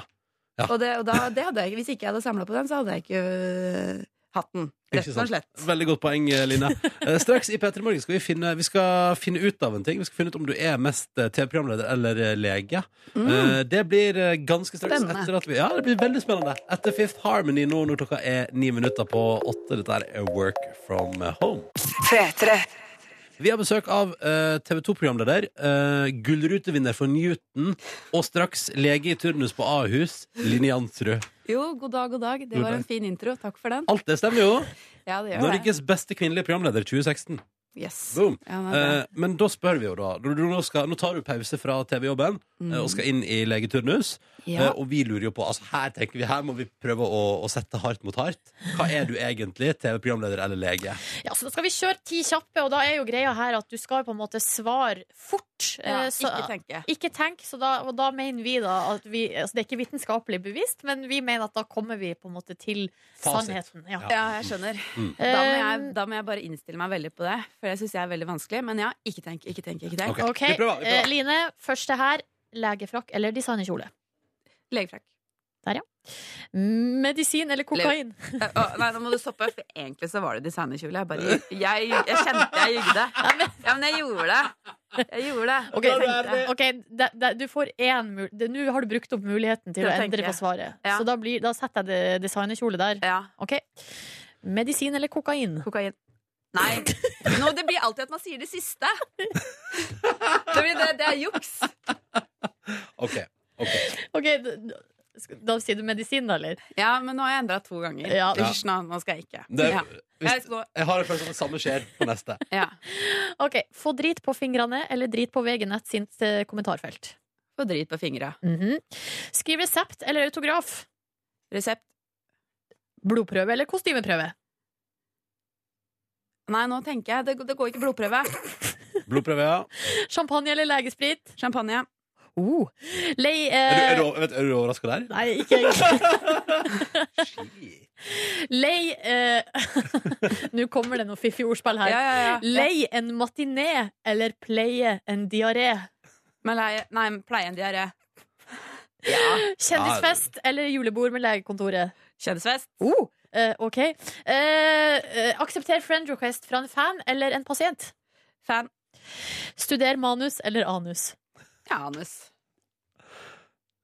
Speaker 1: Ja.
Speaker 4: Og, det, og da, det hadde jeg ikke. Hvis ikke jeg hadde samla på den, så hadde jeg ikke øh, hatt den.
Speaker 1: Ikke
Speaker 4: Rett og
Speaker 1: sant?
Speaker 4: slett.
Speaker 1: Veldig godt poeng, eh, Line. Eh, Straks i P3 Morgen skal vi, finne, vi skal finne ut av en ting. Vi skal finne ut om du er mest eh, TV-programleder eller eh, lege. Eh, Det blir eh, ganske straks.
Speaker 4: Mm. Spennende.
Speaker 1: Etter at vi, ja, det blir veldig spennende. Etter Fifth Harmony nå når klokka er ni minutter på åtte. Dette er A Work From Home. Vi har besøk av eh, TV 2-programleder, uh, gullrutevinner for Newton og straks lege i turnus på Ahus, Line Jansrud.
Speaker 4: Jo, god dag, god dag. Det
Speaker 1: God
Speaker 4: var
Speaker 1: dag.
Speaker 4: en fin intro. Takk for den.
Speaker 1: Alt det stemmer jo.
Speaker 4: Ja, det gjør det.
Speaker 1: Norges beste kvinnelige programleder 2016.
Speaker 4: Yes.
Speaker 1: Boom.
Speaker 4: Ja, nei, det-
Speaker 1: Eh, men da spør vi jo, da. Når du Nå, skal, nå tar du pause fra TV-jobben eh, og skal inn i legeturnus.
Speaker 4: Mm. Ja.
Speaker 1: Eh, og vi lurer jo på altså Her tenker vi, her må vi prøve å, å sette hardt mot hardt. Hva er du egentlig? TV-programleder eller lege?
Speaker 3: Ja, så da skal vi kjøre ti kjappe, og da er jo greia her at du skal på en måte svare fort.
Speaker 4: Ja,
Speaker 3: eh, så-
Speaker 4: ikke tenke.
Speaker 3: Ikke tenk, så da, og da mener vi da at vi, altså Det er ikke vitenskapelig bevist, men vi mener at da kommer vi på en måte til
Speaker 1: Fasit.
Speaker 3: sannheten. Ja. Ehm,
Speaker 4: Ja, jeg skjønner. Da må, jeg,
Speaker 3: Eh,
Speaker 4: da må jeg bare innstille meg veldig på det, for det syns jeg er veldig vanskelig. Men ja, ikke tenk, ikke tenk, ikke tenk.
Speaker 1: Ok,
Speaker 3: OK,
Speaker 1: vi prøver, vi prøver.
Speaker 3: eh, Line. Første her. Legefrakk eller designerkjole?
Speaker 4: Legefrakk.
Speaker 3: Medisin eller kokain?
Speaker 4: Eh, å, nei, nå må du stoppe, for egentlig så var det designerkjole. Jeg, bare, jeg, jeg kjente jeg jugde. Ja, men jeg gjorde det. Jeg gjorde det.
Speaker 3: Ok, ok, det, det, du får én mul- det- Nå har du brukt opp muligheten til
Speaker 4: Det
Speaker 3: å
Speaker 4: tenker
Speaker 3: endre
Speaker 4: jeg.
Speaker 3: på svaret.
Speaker 4: Ja.
Speaker 3: Så da, blir, da setter jeg det designerkjole der.
Speaker 4: Ja,
Speaker 3: OK. Medisin eller kokain?
Speaker 4: kokain. Nei. Nå, det blir alltid at man sier det siste. Det, blir det, det er juks.
Speaker 1: OK. ok.
Speaker 3: Ok, d- d- skal- Da sier du medisin, da, eller?
Speaker 4: Ja, men nå har jeg endra to ganger.
Speaker 3: Ja.
Speaker 4: Hysj, nå, nå skal jeg ikke.
Speaker 1: Det,
Speaker 4: Ja.
Speaker 1: hvis,
Speaker 4: Jeg skal-
Speaker 1: jeg har en følelse av at det samme skjer på neste.
Speaker 4: Ja.
Speaker 3: Ok, Få drit på fingrene eller drit på VG Nett sitt eh, kommentarfelt.
Speaker 4: Få drit på fingra.
Speaker 3: Mhm. Skriv resept eller autograf.
Speaker 4: Resept.
Speaker 3: Blodprøve eller kostymeprøve.
Speaker 4: Nei, nå tenker jeg. Det, det går ikke blodprøve.
Speaker 1: Blodprøve, ja.
Speaker 3: Champagne eller legesprit.
Speaker 4: Champagne.
Speaker 3: Oh. Lei,
Speaker 1: Er du, er
Speaker 3: eh,
Speaker 1: du, vet, er du overraska der?
Speaker 3: Nei, ikke egentlig.
Speaker 4: Eh,
Speaker 3: Lei eh, Nå kommer det noe fiffig ordspill
Speaker 4: Ja,
Speaker 3: her.
Speaker 4: ja, ja.
Speaker 3: Lei en matiné eller pleie en diaré.
Speaker 4: Men lei- nei, pleie en diaré. Ja.
Speaker 3: Kjendisfest eller julebord med legekontoret.
Speaker 4: Kjendisfest.
Speaker 3: Oh, eh, ok. Eh, eh, aksepter friend request fra en fan eller en pasient.
Speaker 4: Fan.
Speaker 3: Studer manus eller anus.
Speaker 4: Ja, anus.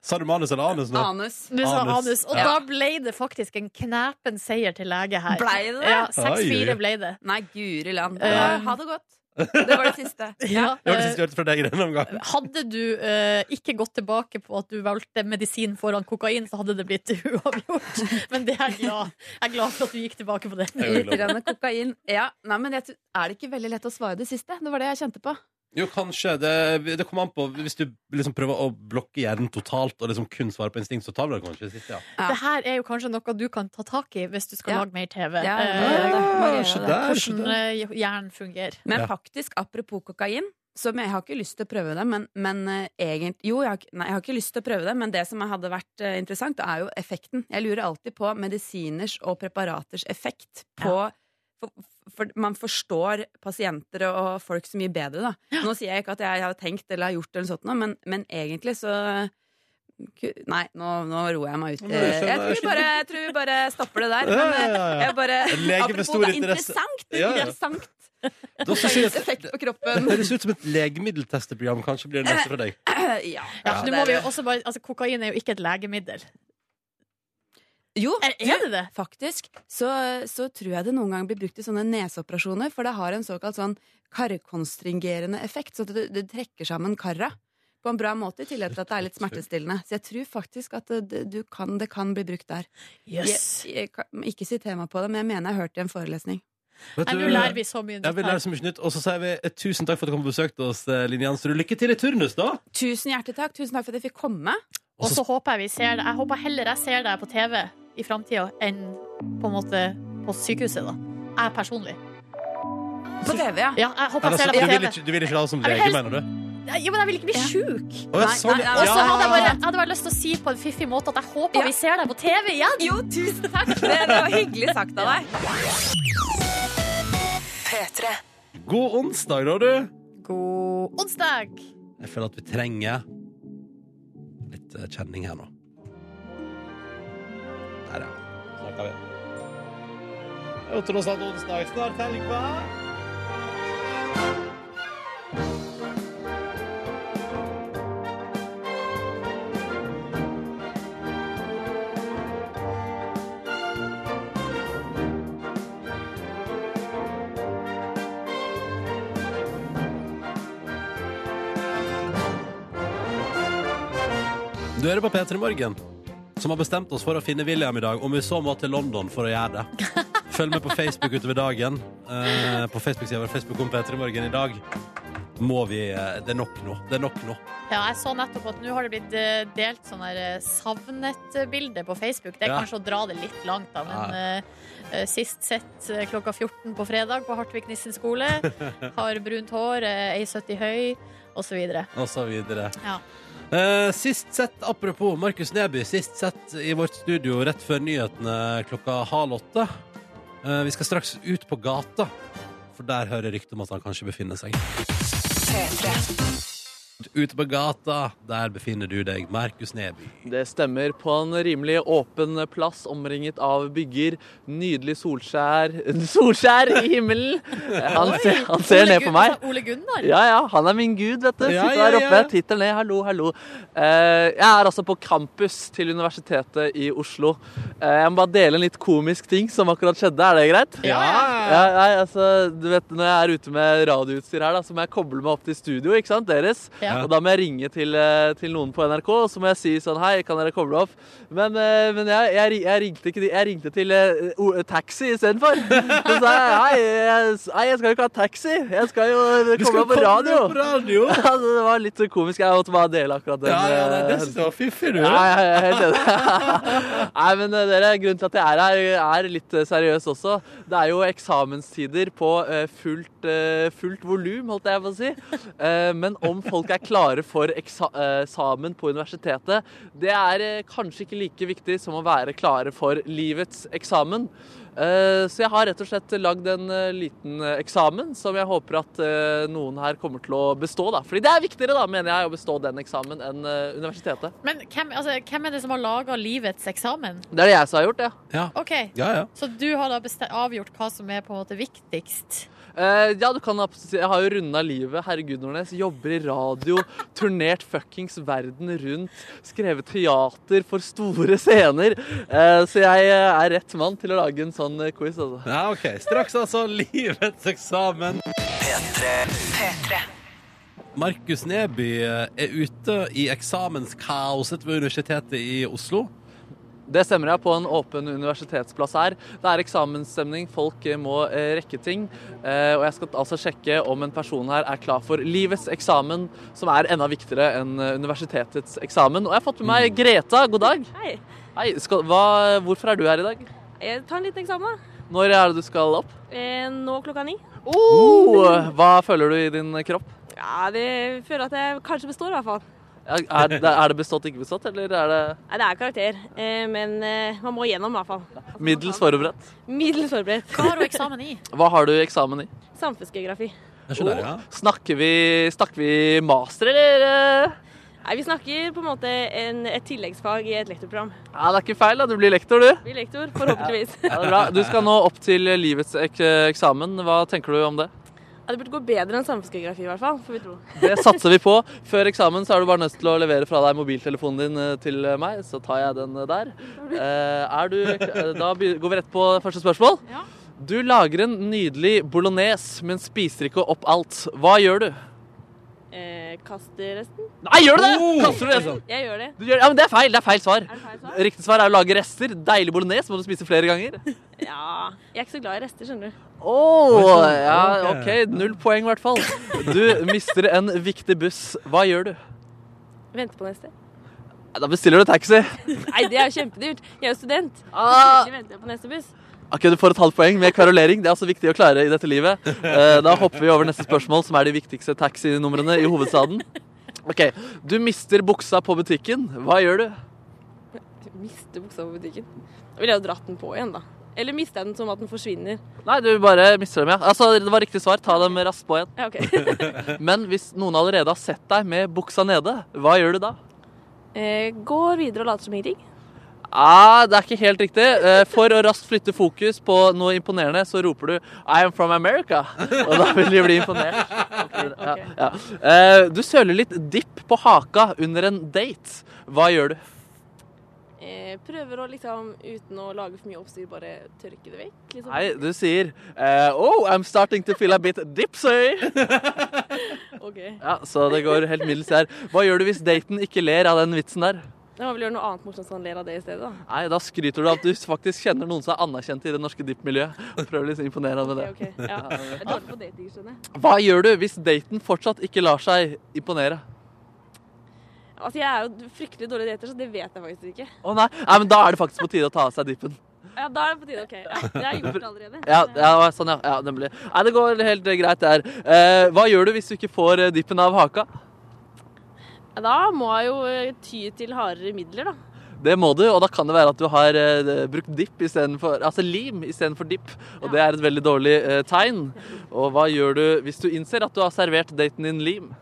Speaker 1: Sa du manus eller anus nå?
Speaker 4: Anus.
Speaker 3: Du sa
Speaker 1: Anus.
Speaker 3: anus. Og
Speaker 1: Ja.
Speaker 3: da ble det faktisk en knepen seier til lege her.
Speaker 4: Blei det det?
Speaker 3: Ja,
Speaker 1: Oi, oi.
Speaker 3: 6-4 ble det.
Speaker 4: Nei, guri land.
Speaker 3: Eh.
Speaker 4: ha det godt. Det var det siste.
Speaker 3: Ja,
Speaker 1: Det var det siste jeg hørte fra deg i denne omgang.
Speaker 3: eh, hadde du eh, ikke gått tilbake på at du valgte medisin foran kokain, så hadde det blitt uavgjort. Men det er jeg glad. jeg er glad for at du gikk tilbake på det.
Speaker 1: Jeg er jo
Speaker 4: Litt
Speaker 1: glad.
Speaker 4: grann kokain. Ja, nei, men jeg, tror- er det ikke veldig lett å svare det siste? Det var det jeg kjente på.
Speaker 1: Jo, kanskje. Det, det kommer an på Hvis du liksom prøver å blokke hjernen totalt og liksom kun svare på instinkt, så tar du det kanskje sist, ja.
Speaker 4: Ja.
Speaker 3: Det her er jo kanskje noe du kan ta tak i hvis du skal
Speaker 4: Ja.
Speaker 3: lage mer TV.
Speaker 4: Ja, ja,
Speaker 3: Eh,
Speaker 4: ja, ja.
Speaker 1: Ah, se der, se
Speaker 3: hvordan
Speaker 1: der.
Speaker 3: eh, hjernen fungerer.
Speaker 4: Men
Speaker 1: Ja.
Speaker 4: faktisk, apropos kokain, som jeg har ikke lyst til å prøve det, men, men eh, egent, Jo, jeg har, ikke- nei, jeg har ikke lyst til å prøve det, men det som hadde vært eh, interessant, det er jo effekten. Jeg lurer alltid på medisiners og preparaters effekt på for, for man forstår pasienter og og folk så mye bedre, da. Nå sier jeg ikke at jeg har tenkt eller har gjort eller noe sånt, nå, men, men egentlig så ku- Nei, nå, nå roer jeg meg ut.
Speaker 1: Nei,
Speaker 4: Eh,
Speaker 1: skjønner
Speaker 4: Jeg tror
Speaker 1: jeg.
Speaker 4: vi bare, jeg tror vi bare stopper det der.
Speaker 1: Ja,
Speaker 4: Men eh,
Speaker 1: ja, ja, ja.
Speaker 4: jeg bare
Speaker 1: En lege med stor
Speaker 4: Apropos det er
Speaker 1: interesse.
Speaker 4: interessant! Det
Speaker 1: Ja,
Speaker 4: er
Speaker 1: ja.
Speaker 4: interessant.
Speaker 1: Da synes jeg at-
Speaker 4: Effekt på
Speaker 1: Det
Speaker 4: kroppen.
Speaker 1: høres ut som et legemiddeltesteprogram. Kanskje blir det neste fra deg.
Speaker 4: Ja,
Speaker 3: Ja, for
Speaker 4: det
Speaker 3: nå må
Speaker 4: er
Speaker 3: vi jo
Speaker 4: det.
Speaker 3: også bare, altså, kokain er jo ikke et legemiddel.
Speaker 4: Jo,
Speaker 3: Er, er det det?
Speaker 4: faktisk så, så tror jeg det noen ganger blir brukt i sånne neseoperasjoner, for det har en såkalt sånn karkonstringerende effekt, så at det, det trekker sammen karra på en bra måte, i tillegg til at det er litt smertestillende. Så jeg tror faktisk at det, det, du kan, det kan bli brukt der. Jeg, jeg kan, ikke siter meg på det, men jeg mener jeg har hørt det i en forelesning.
Speaker 1: Vet
Speaker 3: Nei,
Speaker 1: du-
Speaker 3: nå lærer vi så mye.
Speaker 1: Ja, vi lærer så mye nytt. Og så sier vi eh, tusen takk for at du kom og besøkte oss, eh, Line Jansrud. Lykke til i turnus, da!
Speaker 4: Tusen hjertelig takk. Tusen takk for at jeg fikk komme.
Speaker 3: Og så håper jeg vi ser deg. Jeg håper heller jeg ser deg på TV i framtida enn på en måte på sykehuset, da. Jeg personlig.
Speaker 4: På TV, ja.
Speaker 3: Ja, jeg håper
Speaker 1: Eller, så-
Speaker 2: altså,
Speaker 3: jeg ser
Speaker 1: du,
Speaker 3: deg
Speaker 1: vil
Speaker 3: på TV.
Speaker 1: ikke, du vil ikke ha det som
Speaker 3: Jeg vil
Speaker 1: lege,
Speaker 3: helst-
Speaker 1: mener du?
Speaker 3: Nei, Ja, men jeg vil ikke bli sjuk.
Speaker 1: Å, ja,
Speaker 4: Nei,
Speaker 1: sånn,
Speaker 4: nei,
Speaker 1: ja.
Speaker 4: nei,
Speaker 3: Og så
Speaker 1: Ja,
Speaker 3: hadde jeg
Speaker 1: ja,
Speaker 3: bare,
Speaker 1: ja.
Speaker 3: jeg hadde bare lyst til å si på en fiffig måte at jeg håper
Speaker 4: Ja.
Speaker 3: vi ser deg på TV igjen.
Speaker 4: Jo, tusen takk! Det, det var hyggelig sagt av deg.
Speaker 1: God onsdag, da, du!
Speaker 3: God onsdag!
Speaker 1: Jeg føler at vi trenger litt eh, kjenning her nå. Der, ja. Snakker vi. Det er jo tross alt onsdag. Snart helg, hva? Du hører på P3 Morgen, som har bestemt oss for å finne William i dag, om vi så må til London for å gjøre det. Følg med på Facebook utover dagen. Eh, på Facebook-sida vår Facebook om Peter i morgen i dag. Må vi eh, Det er nok nå. Det er nok nå.
Speaker 3: Ja, jeg så nettopp at nå har det blitt eh, delt sånn her eh, savnet-bilde på Facebook. Det er
Speaker 1: Ja.
Speaker 3: kanskje å dra det litt langt, da, men eh, eh, sist sett eh, klokka 14 på fredag på Hartvig Nissen skole. Har brunt hår, eh, 1,70 høy, osv.
Speaker 1: Og så videre.
Speaker 3: Ja.
Speaker 1: Eh, sist sett, apropos Markus Neby, sist sett i vårt studio rett før nyhetene klokka halv åtte. Eh, vi skal straks ut på gata, for der hører ryktet om at han kanskje befinner seg. Ute på gata, der befinner du deg, Markus Neby.
Speaker 2: Det stemmer. På en rimelig åpen plass omringet av bygger. Nydelig solskjær Solskjær i himmelen! Han ser, han ser
Speaker 3: Ole
Speaker 2: ned på
Speaker 3: Gun-
Speaker 2: meg.
Speaker 3: Ole Gunnar.
Speaker 2: Ja, ja, han er min gud, vet du. Sitter
Speaker 1: Ja,
Speaker 2: der
Speaker 1: ja,
Speaker 2: oppe,
Speaker 1: ja.
Speaker 2: titter ned, hallo, hallo. Eh, jeg er altså på campus til Universitetet i Oslo. Eh, jeg må bare dele en litt komisk ting som akkurat skjedde, er det greit? Ja, nei, altså, du vet, når jeg er ute med radioutstyr her, da, så må jeg koble meg opp til studio, ikke sant, deres?
Speaker 3: Ja.
Speaker 2: Og da må jeg ringe til, eh, til noen på NRK, og så må jeg si sånn, hei, kan dere koble opp? Men, eh, men jeg, jeg, ri- jeg, ringte ikke, de- jeg ringte til eh, o- taxi i stedet for. Så sa jeg, hei, jeg, nei, jeg skal jo ikke ha taxi, jeg skal jo
Speaker 1: Du
Speaker 2: koble
Speaker 1: skal
Speaker 2: opp på
Speaker 1: komme
Speaker 2: radio.
Speaker 1: på radio!
Speaker 2: Ja, så det var litt så komisk, jeg måtte bare dele akkurat den.
Speaker 1: Ja, ja, det
Speaker 2: eh,
Speaker 1: er det så fiffig, du.
Speaker 2: Nei, jeg er helt enig. Nei, men eh, dere, grunnen til at jeg er her, er litt eh, seriøs også. Det er jo eksamenstider på eh, fullt, eh, fullt volum, holdt jeg på å si. Eh, Men om folk er klare for eksa- eh, eksamen på universitetet, det er eh, kanskje ikke like viktig som å være klare for livets eksamen. Eh, Så jeg har rett og slett lagd en eh, liten eh, eksamen som jeg håper at eh, noen her kommer til å bestå, da. Fordi det er viktigere, da, mener jeg, å bestå den eksamen enn eh, universitetet.
Speaker 3: Men hvem, altså, hvem er det som har laga livets eksamen?
Speaker 2: Det er det jeg som har gjort, ja.
Speaker 1: Ja,
Speaker 3: OK,
Speaker 1: ja. ja.
Speaker 3: så du har da beste- avgjort hva som er på en måte viktigst?
Speaker 2: Eh, ja, du kan absolutt si Jeg har jo runda livet. Herregud, Nordnes. Jobber i radio. Turnert fuckings verden rundt. Skrevet teater for store scener. Eh, så jeg eh, er rett mann til å lage en sånn eh, quiz, altså.
Speaker 1: Ja, ok. Straks altså livets eksamen. Markus Neby eh, er ute i eksamenskaoset ved Universitetet i Oslo.
Speaker 2: Det stemmer, jeg på en åpen universitetsplass her. Det er eksamensstemning, folk eh, må eh, rekke ting. Eh, Og jeg skal altså sjekke om en person her er klar for livets eksamen, som er enda viktigere enn eh, universitetets eksamen. Og jeg har fått med meg Greta. God dag.
Speaker 8: Hei.
Speaker 2: Hei, skal, hva, hvorfor er du her i dag?
Speaker 8: Jeg tar en liten eksamen. da.
Speaker 2: Når er det du skal opp?
Speaker 8: Eh, Nå klokka ni.
Speaker 2: Oh, hva føler du i din kropp?
Speaker 8: Ja, det føler at jeg kanskje består, i hvert fall.
Speaker 2: Er, er det- er det bestått, ikke bestått, eller er det
Speaker 8: Nei, det er karakter, eh, men eh, man må igjennom, i hvert fall.
Speaker 2: middels forberedt?
Speaker 8: Middels forberedt.
Speaker 3: Hva har hun eksamen i?
Speaker 2: Hva har du eksamen i?
Speaker 8: Samfunnsgeografi.
Speaker 1: Jeg skjønner, ja.
Speaker 2: Snakker vi, snakker vi master, eller? eh?
Speaker 8: Nei, vi snakker på en måte en, et tilleggsfag i et lektorprogram.
Speaker 2: Ja, det er ikke feil, da. Du blir lektor, du.
Speaker 8: Vi er lektor, forhåpentligvis.
Speaker 2: Ja, det er bra. Du skal nå opp til livets ek eksamen. Hva tenker du om det?
Speaker 8: Ja, det burde gå bedre enn samfunnsgeografi, i hvert fall, får vi tro.
Speaker 2: Det satser vi på. Før eksamen så er du bare nødt til å levere fra deg mobiltelefonen din eh, til meg, så tar jeg den eh, der. Eh, Er du eh, Da be- går vi rett på første spørsmål.
Speaker 8: Ja.
Speaker 2: Du lager en nydelig bolognese, men spiser ikke opp alt. Hva gjør du?
Speaker 8: Eh, kaster resten?
Speaker 2: Nei, gjør du det?!
Speaker 1: Oh!
Speaker 2: Kaster du det?
Speaker 8: Jeg gjør det.
Speaker 2: Du gjør, ja, men det er feil. Det er feil svar.
Speaker 8: Er det feil svar?
Speaker 2: Riktig svar er å lage rester. Deilig bolognese må du spise flere ganger.
Speaker 8: Ja. Jeg er ikke så glad i rester, skjønner du.
Speaker 2: Å, ja, OK. Null poeng, i hvert fall. Du mister en viktig buss. Hva gjør du?
Speaker 8: Venter på neste.
Speaker 2: Ja, Da bestiller du taxi.
Speaker 8: Nei, det er jo kjempedyrt. Jeg er jo student.
Speaker 2: Ah.
Speaker 8: Selvfølgelig venter jeg på neste buss.
Speaker 2: Ok, Du får et halvt poeng med kverulering. Det er også viktig å klare i dette livet. Eh, Da hopper vi over neste spørsmål, som er de viktigste taxinumrene i hovedstaden. Ok, Du mister buksa på butikken. Hva gjør du?
Speaker 8: Miste buksa på butikken. Da ville jeg jo dratt den på igjen, da. Eller mista jeg den som at den forsvinner.
Speaker 2: Nei, du bare mister dem, ja. Altså, Det var riktig svar. Ta dem raskt på igjen.
Speaker 8: Ja, OK.
Speaker 2: Men hvis noen allerede har sett deg med buksa nede, hva gjør du da?
Speaker 8: Eh, går videre og later som ingenting.
Speaker 2: Ah, det er ikke helt riktig. Eh, For å raskt flytte fokus på noe imponerende, så roper du 'I am from America'. Og da vil de bli imponert. Ja, ja. Eh, Du søler litt dipp på haka under en date. Hva gjør du?
Speaker 8: Eh, prøver å liksom, uten å lage for mye oppstyr, bare tørke det vekk. Liksom.
Speaker 2: Nei, du sier eh, 'Oh, I'm starting to feel a bit dipsy'.
Speaker 8: OK.
Speaker 2: Ja, så det går helt middels her. Hva gjør du hvis daten ikke ler av den vitsen der?
Speaker 8: Jeg må vel gjøre noe annet morsomt så han ler av det i stedet, da.
Speaker 2: Nei, da skryter du av at du faktisk kjenner noen som er anerkjent i det norske dipp-miljøet. og Prøver liksom å imponere ham med det.
Speaker 8: Ok, ok. Ja. Jeg er dårlig på dating, skjønner jeg.
Speaker 2: Hva gjør du hvis daten fortsatt ikke lar seg imponere?
Speaker 8: Altså, jeg er jo fryktelig dårlig i dater, så det vet jeg faktisk ikke.
Speaker 2: Å nei. nei, men da er det faktisk på tide å ta av seg dippen.
Speaker 8: Ja, da er det på tide. OK. Ja, det har jeg gjort allerede.
Speaker 2: Ja, ja, sånn, ja. ja nemlig. Nei, det går helt eh, greit, det her. Eh, hva gjør du hvis du ikke får eh, dippen av haka?
Speaker 8: Ja, Da må jeg jo eh, ty til hardere midler, da.
Speaker 2: Det må du, og da kan det være at du har eh, brukt dipp istedenfor Altså lim istedenfor dipp, og det er et veldig dårlig eh, tegn. Og hva gjør du hvis du innser at du har servert daten din lim?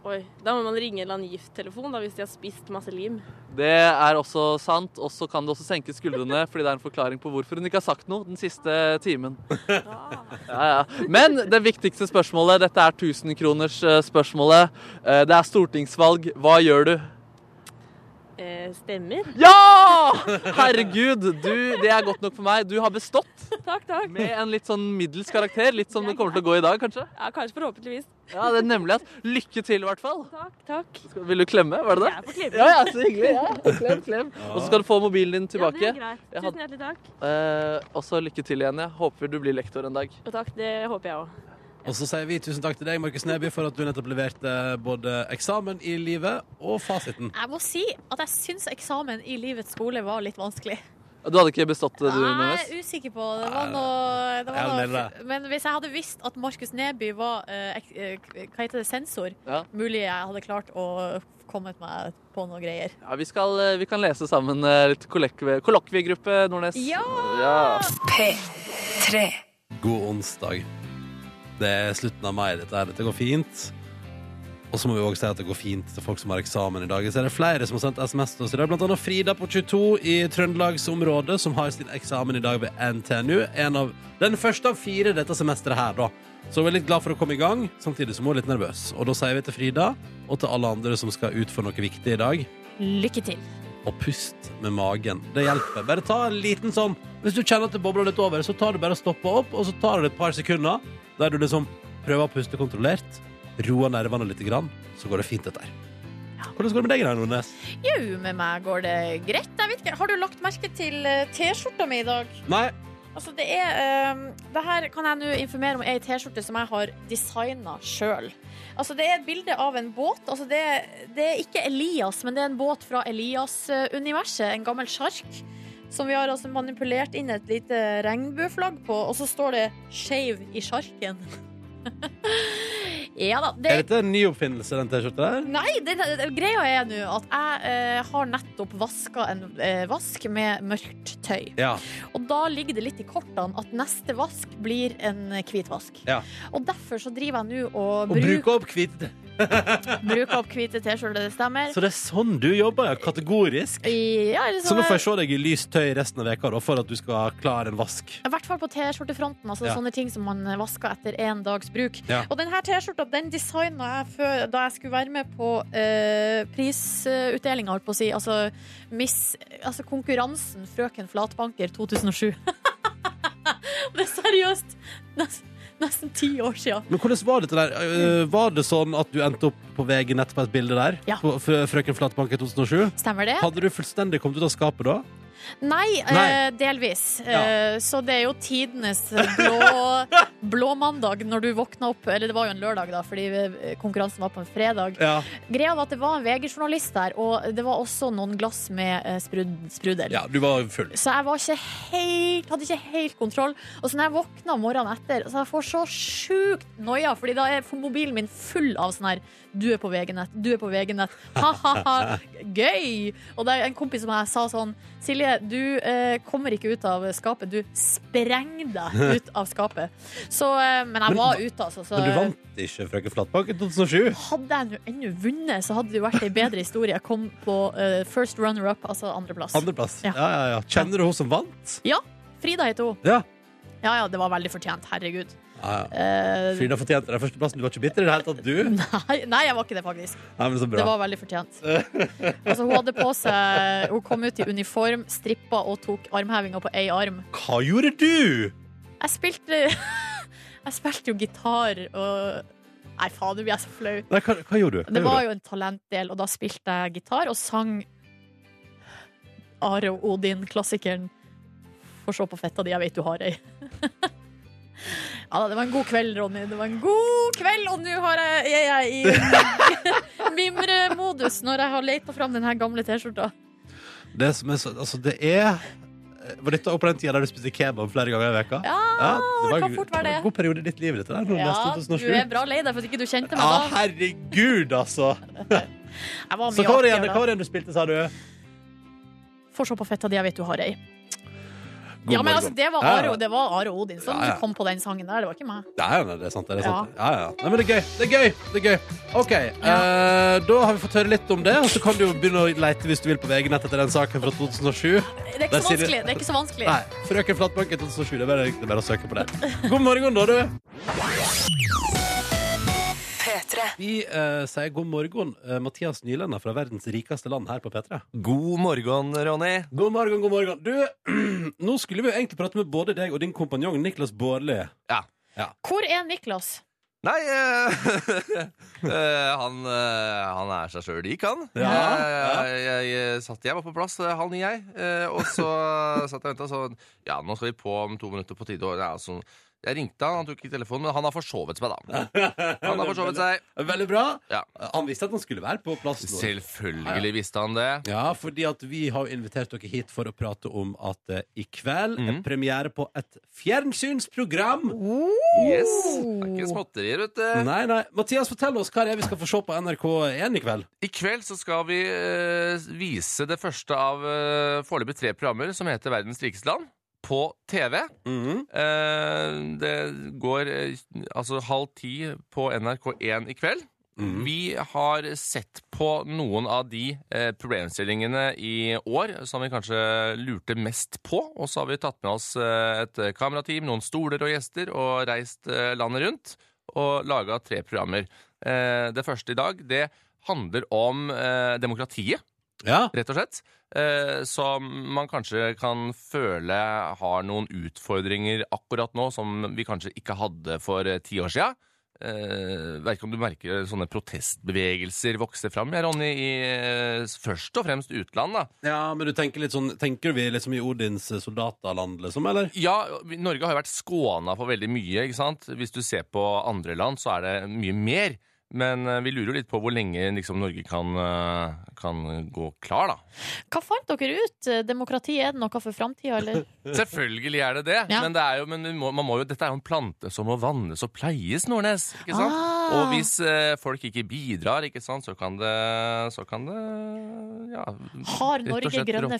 Speaker 8: Oi. Da må man ringe en eller annen gifttelefon da, hvis de har spist masse lim.
Speaker 2: Det er også sant, og så kan du også senke skuldrene, fordi det er en forklaring på hvorfor hun ikke har sagt noe den siste timen. Ja, ja. Men det viktigste spørsmålet, dette er 1000-kronersspørsmålet. Eh, Det er stortingsvalg, hva gjør du?
Speaker 8: Eh, stemmer.
Speaker 2: Ja! Herregud, du, det er godt nok for meg. Du har bestått
Speaker 8: Takk, takk.
Speaker 2: med en litt sånn middels karakter, litt som det kommer til å gå i dag, kanskje?
Speaker 8: Ja, kanskje forhåpentligvis.
Speaker 2: Ja, det er nemlig at lykke til, i hvert fall.
Speaker 8: Takk, takk.
Speaker 2: Skal- Vil du klemme? Var det det?
Speaker 8: Jeg får klemme.
Speaker 2: Ja, ja, så hyggelig. Ja. Klem, klem. Og så skal du få mobilen din
Speaker 8: Ja, det
Speaker 2: tilbake.
Speaker 8: er greit.
Speaker 2: Jeg hadde-
Speaker 8: Tusen hjertelig takk.
Speaker 2: Eh, og så lykke til igjen. Jeg håper du blir lektor en dag.
Speaker 8: Og takk, det håper jeg òg.
Speaker 1: Og så sier vi tusen takk til deg, Markus Neby, for at du nettopp leverte både eksamen i livet og fasiten.
Speaker 3: Jeg må si at jeg syns eksamen i livets skole var litt vanskelig.
Speaker 2: Du hadde ikke bestått det, du,
Speaker 3: Jeg
Speaker 2: Nordnes?
Speaker 3: er usikker på det. var noe, det
Speaker 1: Jeg
Speaker 3: var noe.
Speaker 1: melder
Speaker 3: Men hvis jeg hadde visst at Markus Neby var eh, ek- eh, hva heter det, sensor,
Speaker 2: Ja.
Speaker 3: mulig jeg hadde klart å kommet meg på noe greier.
Speaker 2: Ja, vi, skal, eh, vi kan lese sammen eh, litt kollekve- kollokviegruppe, Nordnes.
Speaker 3: Ja!
Speaker 2: Ja.
Speaker 1: God onsdag. Det er slutten av mai, dette her. Dette går fint. Og så må vi også si at det går fint til folk som har eksamen i dag. Så er det flere som har sendt SMS til oss i dag, blant annet Frida på 22 i Trøndelagsområdet, som har sin eksamen i dag ved NTNU. En av, den første av fire dette semesteret her, da. Så vi er litt glad for å komme i gang, samtidig som hun er litt nervøs. Og da sier vi til Frida, og til alle andre som skal ut for noe viktig i dag,
Speaker 3: Lykke til.
Speaker 1: og pust med magen. Det hjelper. Bare ta en liten sånn Hvis du kjenner at det bobler litt over, så tar du bare og stopper opp, og så tar det et par sekunder der du liksom prøver å puste kontrollert, roer nervene litt, grann, så går det fint, dette her. Hvordan går det med deg, Rein Nordnes?
Speaker 3: Jau, med meg går det greit. Jeg vet ikke, har du lagt merke til eh, T-skjorta mi i dag?
Speaker 1: Nei.
Speaker 3: Altså, det er eh, Det her kan jeg nå informere om er ei T-skjorte som jeg har designa sjøl. Altså, det er et bilde av en båt. Altså, det, det er ikke Elias, men det er en båt fra Elias-universet. En gammel sjark. Som vi har altså manipulert inn et lite regnbueflagg på, og så står det 'Skeiv i sjarken'. ja da. Det,
Speaker 1: Er dette en ny oppfinnelse, den T-skjorta der?
Speaker 3: Nei, det, det, det, greia er nå at jeg eh, har nettopp vaska en eh, vask med mørkt tøy.
Speaker 1: Ja.
Speaker 3: Og da ligger det litt i kortene at neste vask blir en hvit vask.
Speaker 1: Ja.
Speaker 3: Og derfor så driver jeg nå og,
Speaker 1: Og
Speaker 3: bruk,
Speaker 1: bruke opp hvite
Speaker 3: bruker opp hvite T-skjorter, det stemmer.
Speaker 1: Så det er sånn du jobber, ja. Kategorisk.
Speaker 3: Ja, eller
Speaker 1: Så nå
Speaker 3: sånne-
Speaker 1: får jeg se deg i lyst tøy resten av veka da, for at du skal klare en vask.
Speaker 3: I hvert fall på T-skjortefronten. Altså
Speaker 1: Ja.
Speaker 3: Sånne ting som man vasker etter én dags bruk.
Speaker 1: Ja.
Speaker 3: Og denne T-skjorta den designa jeg før, da jeg skulle være med på uh, prisutdelinga, holdt på å si. Altså, miss, altså konkurransen Frøken Flatbanker 2007. det er seriøst nesten, nesten ti år sia.
Speaker 1: Men hvordan var dette der? Eh, Var det sånn at du endte opp på VG nett på et bilde der?
Speaker 3: Ja.
Speaker 1: På Frø- Frøken Flatbank i 2007?
Speaker 3: Stemmer det?
Speaker 1: Hadde du fullstendig kommet ut av skapet da?
Speaker 3: Nei,
Speaker 1: Nei.
Speaker 3: eh, delvis.
Speaker 1: Ja.
Speaker 3: Eh, så det er jo tidenes blå, blå mandag når du våkna opp. Eller det var jo en lørdag, da, fordi eh, konkurransen var på en fredag.
Speaker 1: Ja.
Speaker 3: Greia var at det var en VG-journalist der, og det var også noen glass med eh, sprud sprudel.
Speaker 1: du var full.
Speaker 3: Så jeg var ikke helt, hadde ikke helt kontroll. Og så når jeg våkna morgenen etter, så jeg får så sjukt noia, fordi da er mobilen min full av sånn her Du er på VG-nett, du er på VG-nett. Ha-ha-ha, gøy! Og det er en kompis som jeg sa sånn Silje, du eh, kommer ikke ut av skapet. Du sprenger deg ut av skapet. Så, eh, men
Speaker 1: Men
Speaker 3: jeg var ute, altså. Så,
Speaker 1: Men du vant ikke Frøken Flatbank i 2007?
Speaker 3: hadde jeg nå ennå vunnet, så hadde det jo vært ei bedre historie. Jeg kom på eh, first runner-up, altså andreplass.
Speaker 1: Andreplass. Ja.
Speaker 3: Ja.
Speaker 1: ja, ja, Kjenner du hun som vant?
Speaker 3: Frida heter hun.
Speaker 1: Ja.
Speaker 3: ja ja, det var veldig fortjent. Herregud.
Speaker 1: Ja, ja.
Speaker 3: Eh,
Speaker 1: Frida fortjente den førsteplassen. Du var ikke bitter i det hele tatt, du?
Speaker 3: nei, nei, jeg var ikke det, faktisk.
Speaker 1: Nei, men så
Speaker 3: Mm. Det
Speaker 1: bra.
Speaker 3: var veldig fortjent. Altså, hun hadde på seg Hun kom ut i uniform, strippa og tok armhevinga på ei arm.
Speaker 1: Hva gjorde du?
Speaker 3: Jeg spilte Jeg spilte jo gitar og Nei, faen, nå blir jeg så flau.
Speaker 1: Nei, hva, hva gjorde du? Hva
Speaker 3: Det
Speaker 1: gjorde
Speaker 3: var
Speaker 1: du?
Speaker 3: jo en talentdel, og da spilte jeg gitar og sang Are og Odin-klassikeren. Får se på fetta di, jeg vet du har ei. Ja, da, det var en god kveld, Ronny. Det var en god kveld, og nå har jeg, jeg er i mimremodus når jeg har leita fram den her gamle T-skjorta.
Speaker 1: Det som er så Altså, det er Var dette opp på den tida der du spiste kebab flere ganger i veka?
Speaker 3: Ja, det kan fort
Speaker 1: det
Speaker 3: være
Speaker 1: var
Speaker 3: det.
Speaker 1: en god periode i ditt liv, dette der. nå,
Speaker 3: Ja,
Speaker 1: nesten
Speaker 3: du
Speaker 1: 2007.
Speaker 3: er bra lei deg for at ikke du kjente meg
Speaker 1: Ja,
Speaker 3: da.
Speaker 1: herregud, altså!
Speaker 3: Jeg var
Speaker 1: Så
Speaker 3: mye
Speaker 1: hva var det igjen, hva
Speaker 3: artigere da.
Speaker 1: var det igjen du spilte, sa du?
Speaker 3: Får se på fetta di, jeg vet du har ei.
Speaker 1: God
Speaker 3: Ja, men
Speaker 1: morgen.
Speaker 3: altså, det var
Speaker 1: Ja, ja.
Speaker 3: Are, det var Are Odin som
Speaker 1: Ja, ja.
Speaker 3: kom på den sangen der, det var ikke meg.
Speaker 1: Ja, ja, nei, det er sant. Det er sant. Ja. Ja, Nei, men det er gøy. Det er gøy. det er gøy OK. eh, da har vi fått høre litt om det, og så kan du jo begynne å leite hvis du vil på VG-nett etter den saken fra 2007.
Speaker 3: Det er
Speaker 1: Der
Speaker 3: ikke så
Speaker 1: sier du-
Speaker 3: vanskelig. Det er ikke så vanskelig.
Speaker 1: Nei. Frøken Flatbank i 2007. Det er bare, det er bare å søke på det. God morgen, da, du. Vi eh, sier god morgen, eh, Mathias Nylenda fra verdens rikeste land her på P3.
Speaker 9: God morgen, Ronny.
Speaker 1: God morgen, god morgen. Du, nå skulle vi jo egentlig prate med både deg og din kompanjong Niklas Baarli.
Speaker 3: Hvor er Niklas?
Speaker 9: Nei eh, eh, han, eh, han er seg sjøl lik, han.
Speaker 1: Ja,
Speaker 9: Eh, Jeg, jeg, satt, jeg var på plass, eh, halv ni, jeg. Eh, og så satt jeg og venta, sånn Ja, nå skal vi på om to minutter på tide. Og, ja, så, jeg ringte han, han tok ikke telefonen, men han har forsovet seg, da. Han har forsovet seg.
Speaker 1: Veldig bra.
Speaker 9: Ja.
Speaker 1: Han visste at han skulle være på plass nå.
Speaker 9: Selvfølgelig visste han det.
Speaker 1: Ja, fordi at vi har jo invitert dere hit for å prate om at eh, i kveld er
Speaker 9: Mhm.
Speaker 1: premiere på et fjernsynsprogram.
Speaker 9: Yes. Det er ikke småtterier, vet du.
Speaker 1: Nei, nei. Mathias, fortell oss hva det er vi skal få se på NRK1 i kveld.
Speaker 9: I kveld så skal vi eh, vise det første av uh, foreløpig tre programmer som heter Verdens rikeste land, på TV. Eh, det går eh, altså halv ti på NRK1 i kveld.
Speaker 1: Mhm.
Speaker 9: Vi har sett på noen av de eh, problemstillingene i år som vi kanskje lurte mest på. Og så har vi tatt med oss eh, et kamerateam, noen stoler og gjester, og reist eh, landet rundt og laga tre programmer. Eh, det første i dag det handler om eh, demokratiet
Speaker 1: Ja.
Speaker 9: rett og slett. Eh, som man kanskje kan føle har noen utfordringer akkurat nå som vi kanskje ikke hadde for eh, ti år sia. Eh, vet ikke om du merker sånne protestbevegelser vokse fram, ja, Ronny, i eh, først og fremst utland, da.
Speaker 1: ja, men du tenker litt sånn Tenker vi liksom i Odins eh, soldaterland, liksom, eller?
Speaker 9: Ja, vi- Norge har jo vært skåna for veldig mye, ikke sant? Hvis du ser på andre land, så er det mye mer. Men eh, vi lurer jo litt på hvor lenge liksom, Norge kan, eh, kan gå klar, da.
Speaker 3: Hva fant dere ut? Demokrati, er det noe for framtida, eller?
Speaker 9: Selvfølgelig er det det,
Speaker 3: Ja.
Speaker 9: men, det er jo, men vi må, man må jo, dette er jo en plante som må vannes og pleies, Nordnes. Ikke sant?
Speaker 3: Ah.
Speaker 9: Og hvis eh, folk ikke bidrar, ikke sant, så kan det, så kan det ja,
Speaker 3: Har
Speaker 9: rett og
Speaker 3: Norge
Speaker 9: slett
Speaker 3: grønne
Speaker 9: råtne.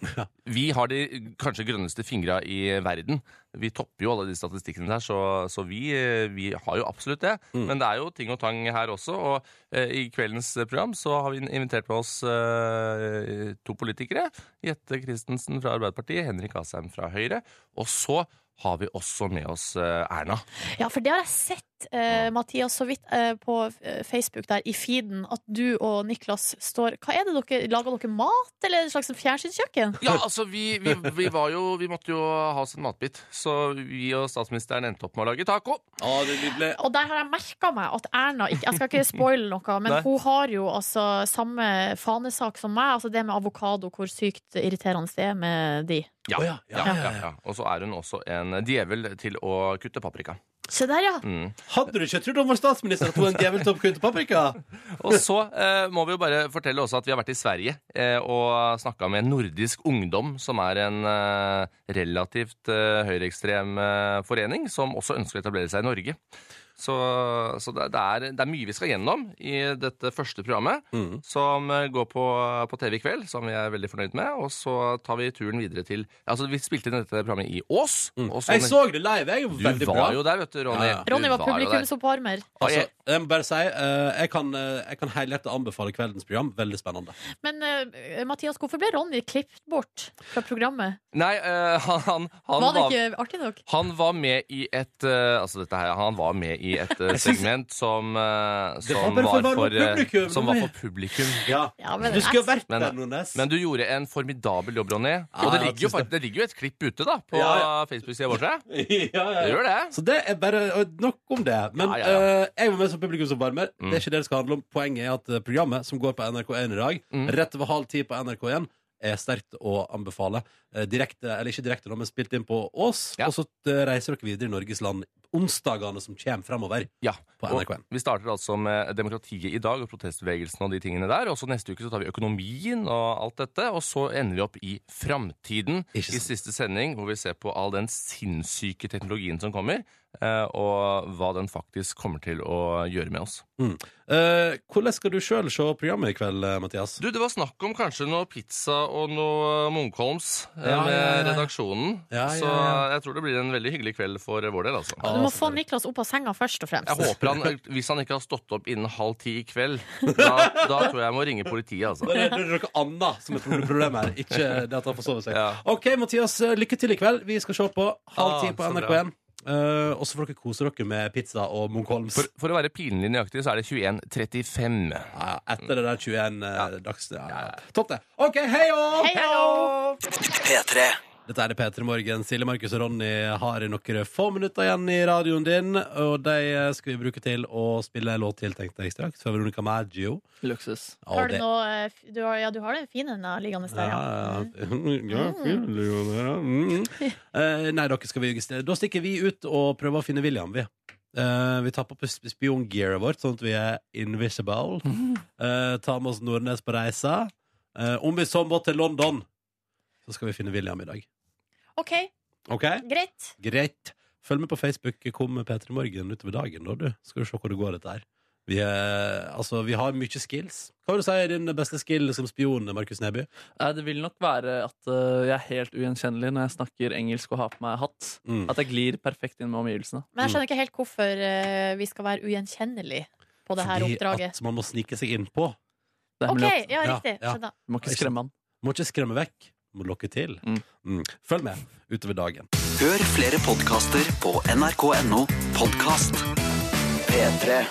Speaker 3: fingre?
Speaker 9: Vi har de kanskje grønneste fingra i verden. Vi topper jo alle de statistikkene der, så, så vi, eh, vi har jo absolutt det. Men det er jo ting og tang her også, og eh, i kveldens program så har vi invitert med oss eh, to politikere. Jette Christensen fra Arbeiderpartiet, Henrik Asheim fra Høyre. Og så har vi også med oss eh, Erna.
Speaker 3: Ja, for det har jeg sett, eh, Mathias, så vidt eh, på eh, Facebook der i feeden, at du og Niklas står Hva er det dere Lager dere mat, eller et slags fjernsynskjøkken?
Speaker 9: Ja, altså, vi, vi, vi var jo Vi måtte jo ha oss en matbit, så vi og statsministeren endte opp med å lage taco.
Speaker 1: Ja, det blir
Speaker 3: Og der har jeg merka meg at Erna ikke, Jeg skal ikke spoile noe, men
Speaker 9: Nei.
Speaker 3: hun har jo altså samme fanesak som meg. Altså det med avokado, hvor sykt irriterende det er med de.
Speaker 1: Å ja, ja, ja, ja.
Speaker 9: Og så er hun også en djevel til å kutte paprika.
Speaker 3: Se der, ja!
Speaker 9: Mm.
Speaker 1: Hadde du ikke trodd han var statsminister at hun var en djevel til å kutte paprika?
Speaker 9: Og så eh, må vi jo bare fortelle også at vi har vært i Sverige eh, og snakka med Nordisk Ungdom, som er en eh, relativt eh, høyreekstrem eh, forening som også ønsker å etablere seg i Norge. Så, så det, det, er, det er mye vi skal gjennom i dette første programmet,
Speaker 1: Mhm.
Speaker 9: som eh, går på, på TV i kveld, som vi er veldig fornøyd med. Og så tar vi turen videre til Altså, vi spilte inn dette programmet i Ås. Mm. Og
Speaker 1: Jeg så det live, jeg.
Speaker 9: du var
Speaker 1: Veldig bra.
Speaker 9: jo der, vet du, Ronny.
Speaker 1: Mm. Ja, ja.
Speaker 9: Du
Speaker 3: Ronny var
Speaker 9: jo der.
Speaker 3: publikumsoppvarmer.
Speaker 1: Altså, jeg må bare si, eh, jeg kan, eh, jeg kan helhjertet anbefale kveldens program. Veldig spennende.
Speaker 3: Men eh, Mathias, hvorfor ble Ronny klippet bort fra programmet?
Speaker 9: Nei, eh, han, han, han
Speaker 3: Var det ikke artig nok?
Speaker 9: Han var med i et eh, Altså dette her, han var med i et eh, segment som, eh,
Speaker 1: Det var
Speaker 9: som,
Speaker 1: bare for
Speaker 9: var
Speaker 1: å være
Speaker 9: for, eh,
Speaker 1: publikum.
Speaker 9: som var for publikum.
Speaker 1: Ja.
Speaker 3: Ja, men
Speaker 1: Du skulle jo
Speaker 3: jeg-
Speaker 1: vært
Speaker 9: Men-
Speaker 1: der, Nordnes.
Speaker 9: Men du gjorde en formidabel jobb, Ronny.
Speaker 1: Ja,
Speaker 9: Og det
Speaker 1: jeg
Speaker 9: ligger jo,
Speaker 1: synes det.
Speaker 9: fakt- det ligger jo et klipp ute da på
Speaker 1: Ja, ja.
Speaker 9: Facebook-sida vår. tror jeg.
Speaker 1: ja, ja,
Speaker 9: Det
Speaker 1: ja.
Speaker 9: gjør det.
Speaker 1: Så det er bare og nok om det. Men
Speaker 9: Ja, ja, ja. Mm.
Speaker 1: eh, jeg var med som publikumsoppvarmer.
Speaker 9: Mm.
Speaker 1: Det er ikke det det skal handle om. Poenget er at eh, programmet som går på NRK1 i dag, rett over halv ti på NRK1, er sterkt å anbefale. Eh, Direkte, eller ikke direkte, nå, men spilt inn på Ås.
Speaker 9: Ja.
Speaker 1: Og så eh, reiser dere videre i Norges land onsdagene som kommer framover
Speaker 9: Ja,
Speaker 1: på
Speaker 9: og
Speaker 1: NRK1.
Speaker 9: Vi starter altså med demokratiet i dag og protestbevegelsen og de tingene der. Og så neste uke så tar vi økonomien og alt dette. Og så ender vi opp i framtiden i
Speaker 1: Ikke sant.
Speaker 9: siste sending, hvor vi ser på all den sinnssyke teknologien som kommer, eh, og hva den faktisk kommer til å gjøre med oss.
Speaker 1: Eh, hvordan skal du sjøl se programmet i kveld, eh, Mathias?
Speaker 9: Du, det var snakk om kanskje noe pizza og noe Munkholms eh,
Speaker 1: Ja,
Speaker 9: med
Speaker 1: ja, ja, ja.
Speaker 9: redaksjonen.
Speaker 1: Ja, ja,
Speaker 9: Så
Speaker 1: ja.
Speaker 9: jeg tror det blir en veldig hyggelig kveld for vår del, altså.
Speaker 3: Du må få Niklas opp av senga først og
Speaker 9: Jeg
Speaker 3: fremst.
Speaker 9: håper han, Hvis han ikke har stått opp innen halv ti i kveld, da, da tror jeg jeg må ringe politiet. altså.
Speaker 1: Det er det er noe annet som er proble- problemet her, ikke det at han forsover seg.
Speaker 9: Ja.
Speaker 1: OK, Mathias, eh, lykke til i kveld. Vi skal se på halv ti
Speaker 9: Ah,
Speaker 1: på
Speaker 9: så bra.
Speaker 1: NRK1. Eh, og så får dere kose dere med pizza og Munkholms.
Speaker 9: For, for å være pinlig nøyaktig, så er det 21.35.
Speaker 1: Ja, etter det der 21 eh, dags... Ja, ja. Topp det. OK, hei og
Speaker 3: Hei, hei.
Speaker 1: Dette er P3 Morgen. Silje, Markus og Ronny har i noen få minutter igjen i radioen din, og de eh, skal vi bruke til å spille en låt til, tenkte jeg straks, fra Veronica Maggio.
Speaker 2: Luksus.
Speaker 1: Ja,
Speaker 3: Har du
Speaker 1: det-
Speaker 3: noe eh, f- du har, Ja, du har den fine den da, liggende der, ja. Mm.
Speaker 1: Ja, ja, ja. Ja, fyller jo det, ja. Mm. Eh, Nei, dere skal vi registrere. Da stikker vi ut og prøver å finne William, vi. Eh, vi tar på sp- spiongearet vårt, sånn at vi er invisible. Eh, tar med oss Nordnes på reisa. Eh, om vi så må til London, så skal vi finne William i dag.
Speaker 3: OK,
Speaker 1: OK?
Speaker 3: greit.
Speaker 1: Greit. Følg med på Facebook. Kom med P3 Morgen utover dagen, da, du. Skal du se hvor det går, dette her. Vi, er, altså, vi har mye skills. Hva vil du si er din beste skill som spion, Markus Neby?
Speaker 2: Nei, Eh, Det vil nok være at eh, jeg er helt ugjenkjennelig når jeg snakker engelsk og har på meg hatt.
Speaker 1: Mm.
Speaker 2: At jeg glir perfekt inn med omgivelsene.
Speaker 3: Men jeg skjønner ikke helt hvorfor eh, vi skal være ugjenkjennelige på det her
Speaker 1: Fordi
Speaker 3: oppdraget.
Speaker 1: at man må snike seg innpå.
Speaker 2: Det er
Speaker 3: OK,
Speaker 2: hemmelig at-
Speaker 3: ja,
Speaker 1: Ja,
Speaker 3: riktig.
Speaker 1: ja.
Speaker 3: Skjønner.
Speaker 2: Du må ikke skremme han.
Speaker 1: Må ikke skremme vekk, må lokke til.
Speaker 2: Mm.
Speaker 1: Mm. Følg med utover dagen.
Speaker 10: Hør flere podkaster på nrk.no podkast. P3.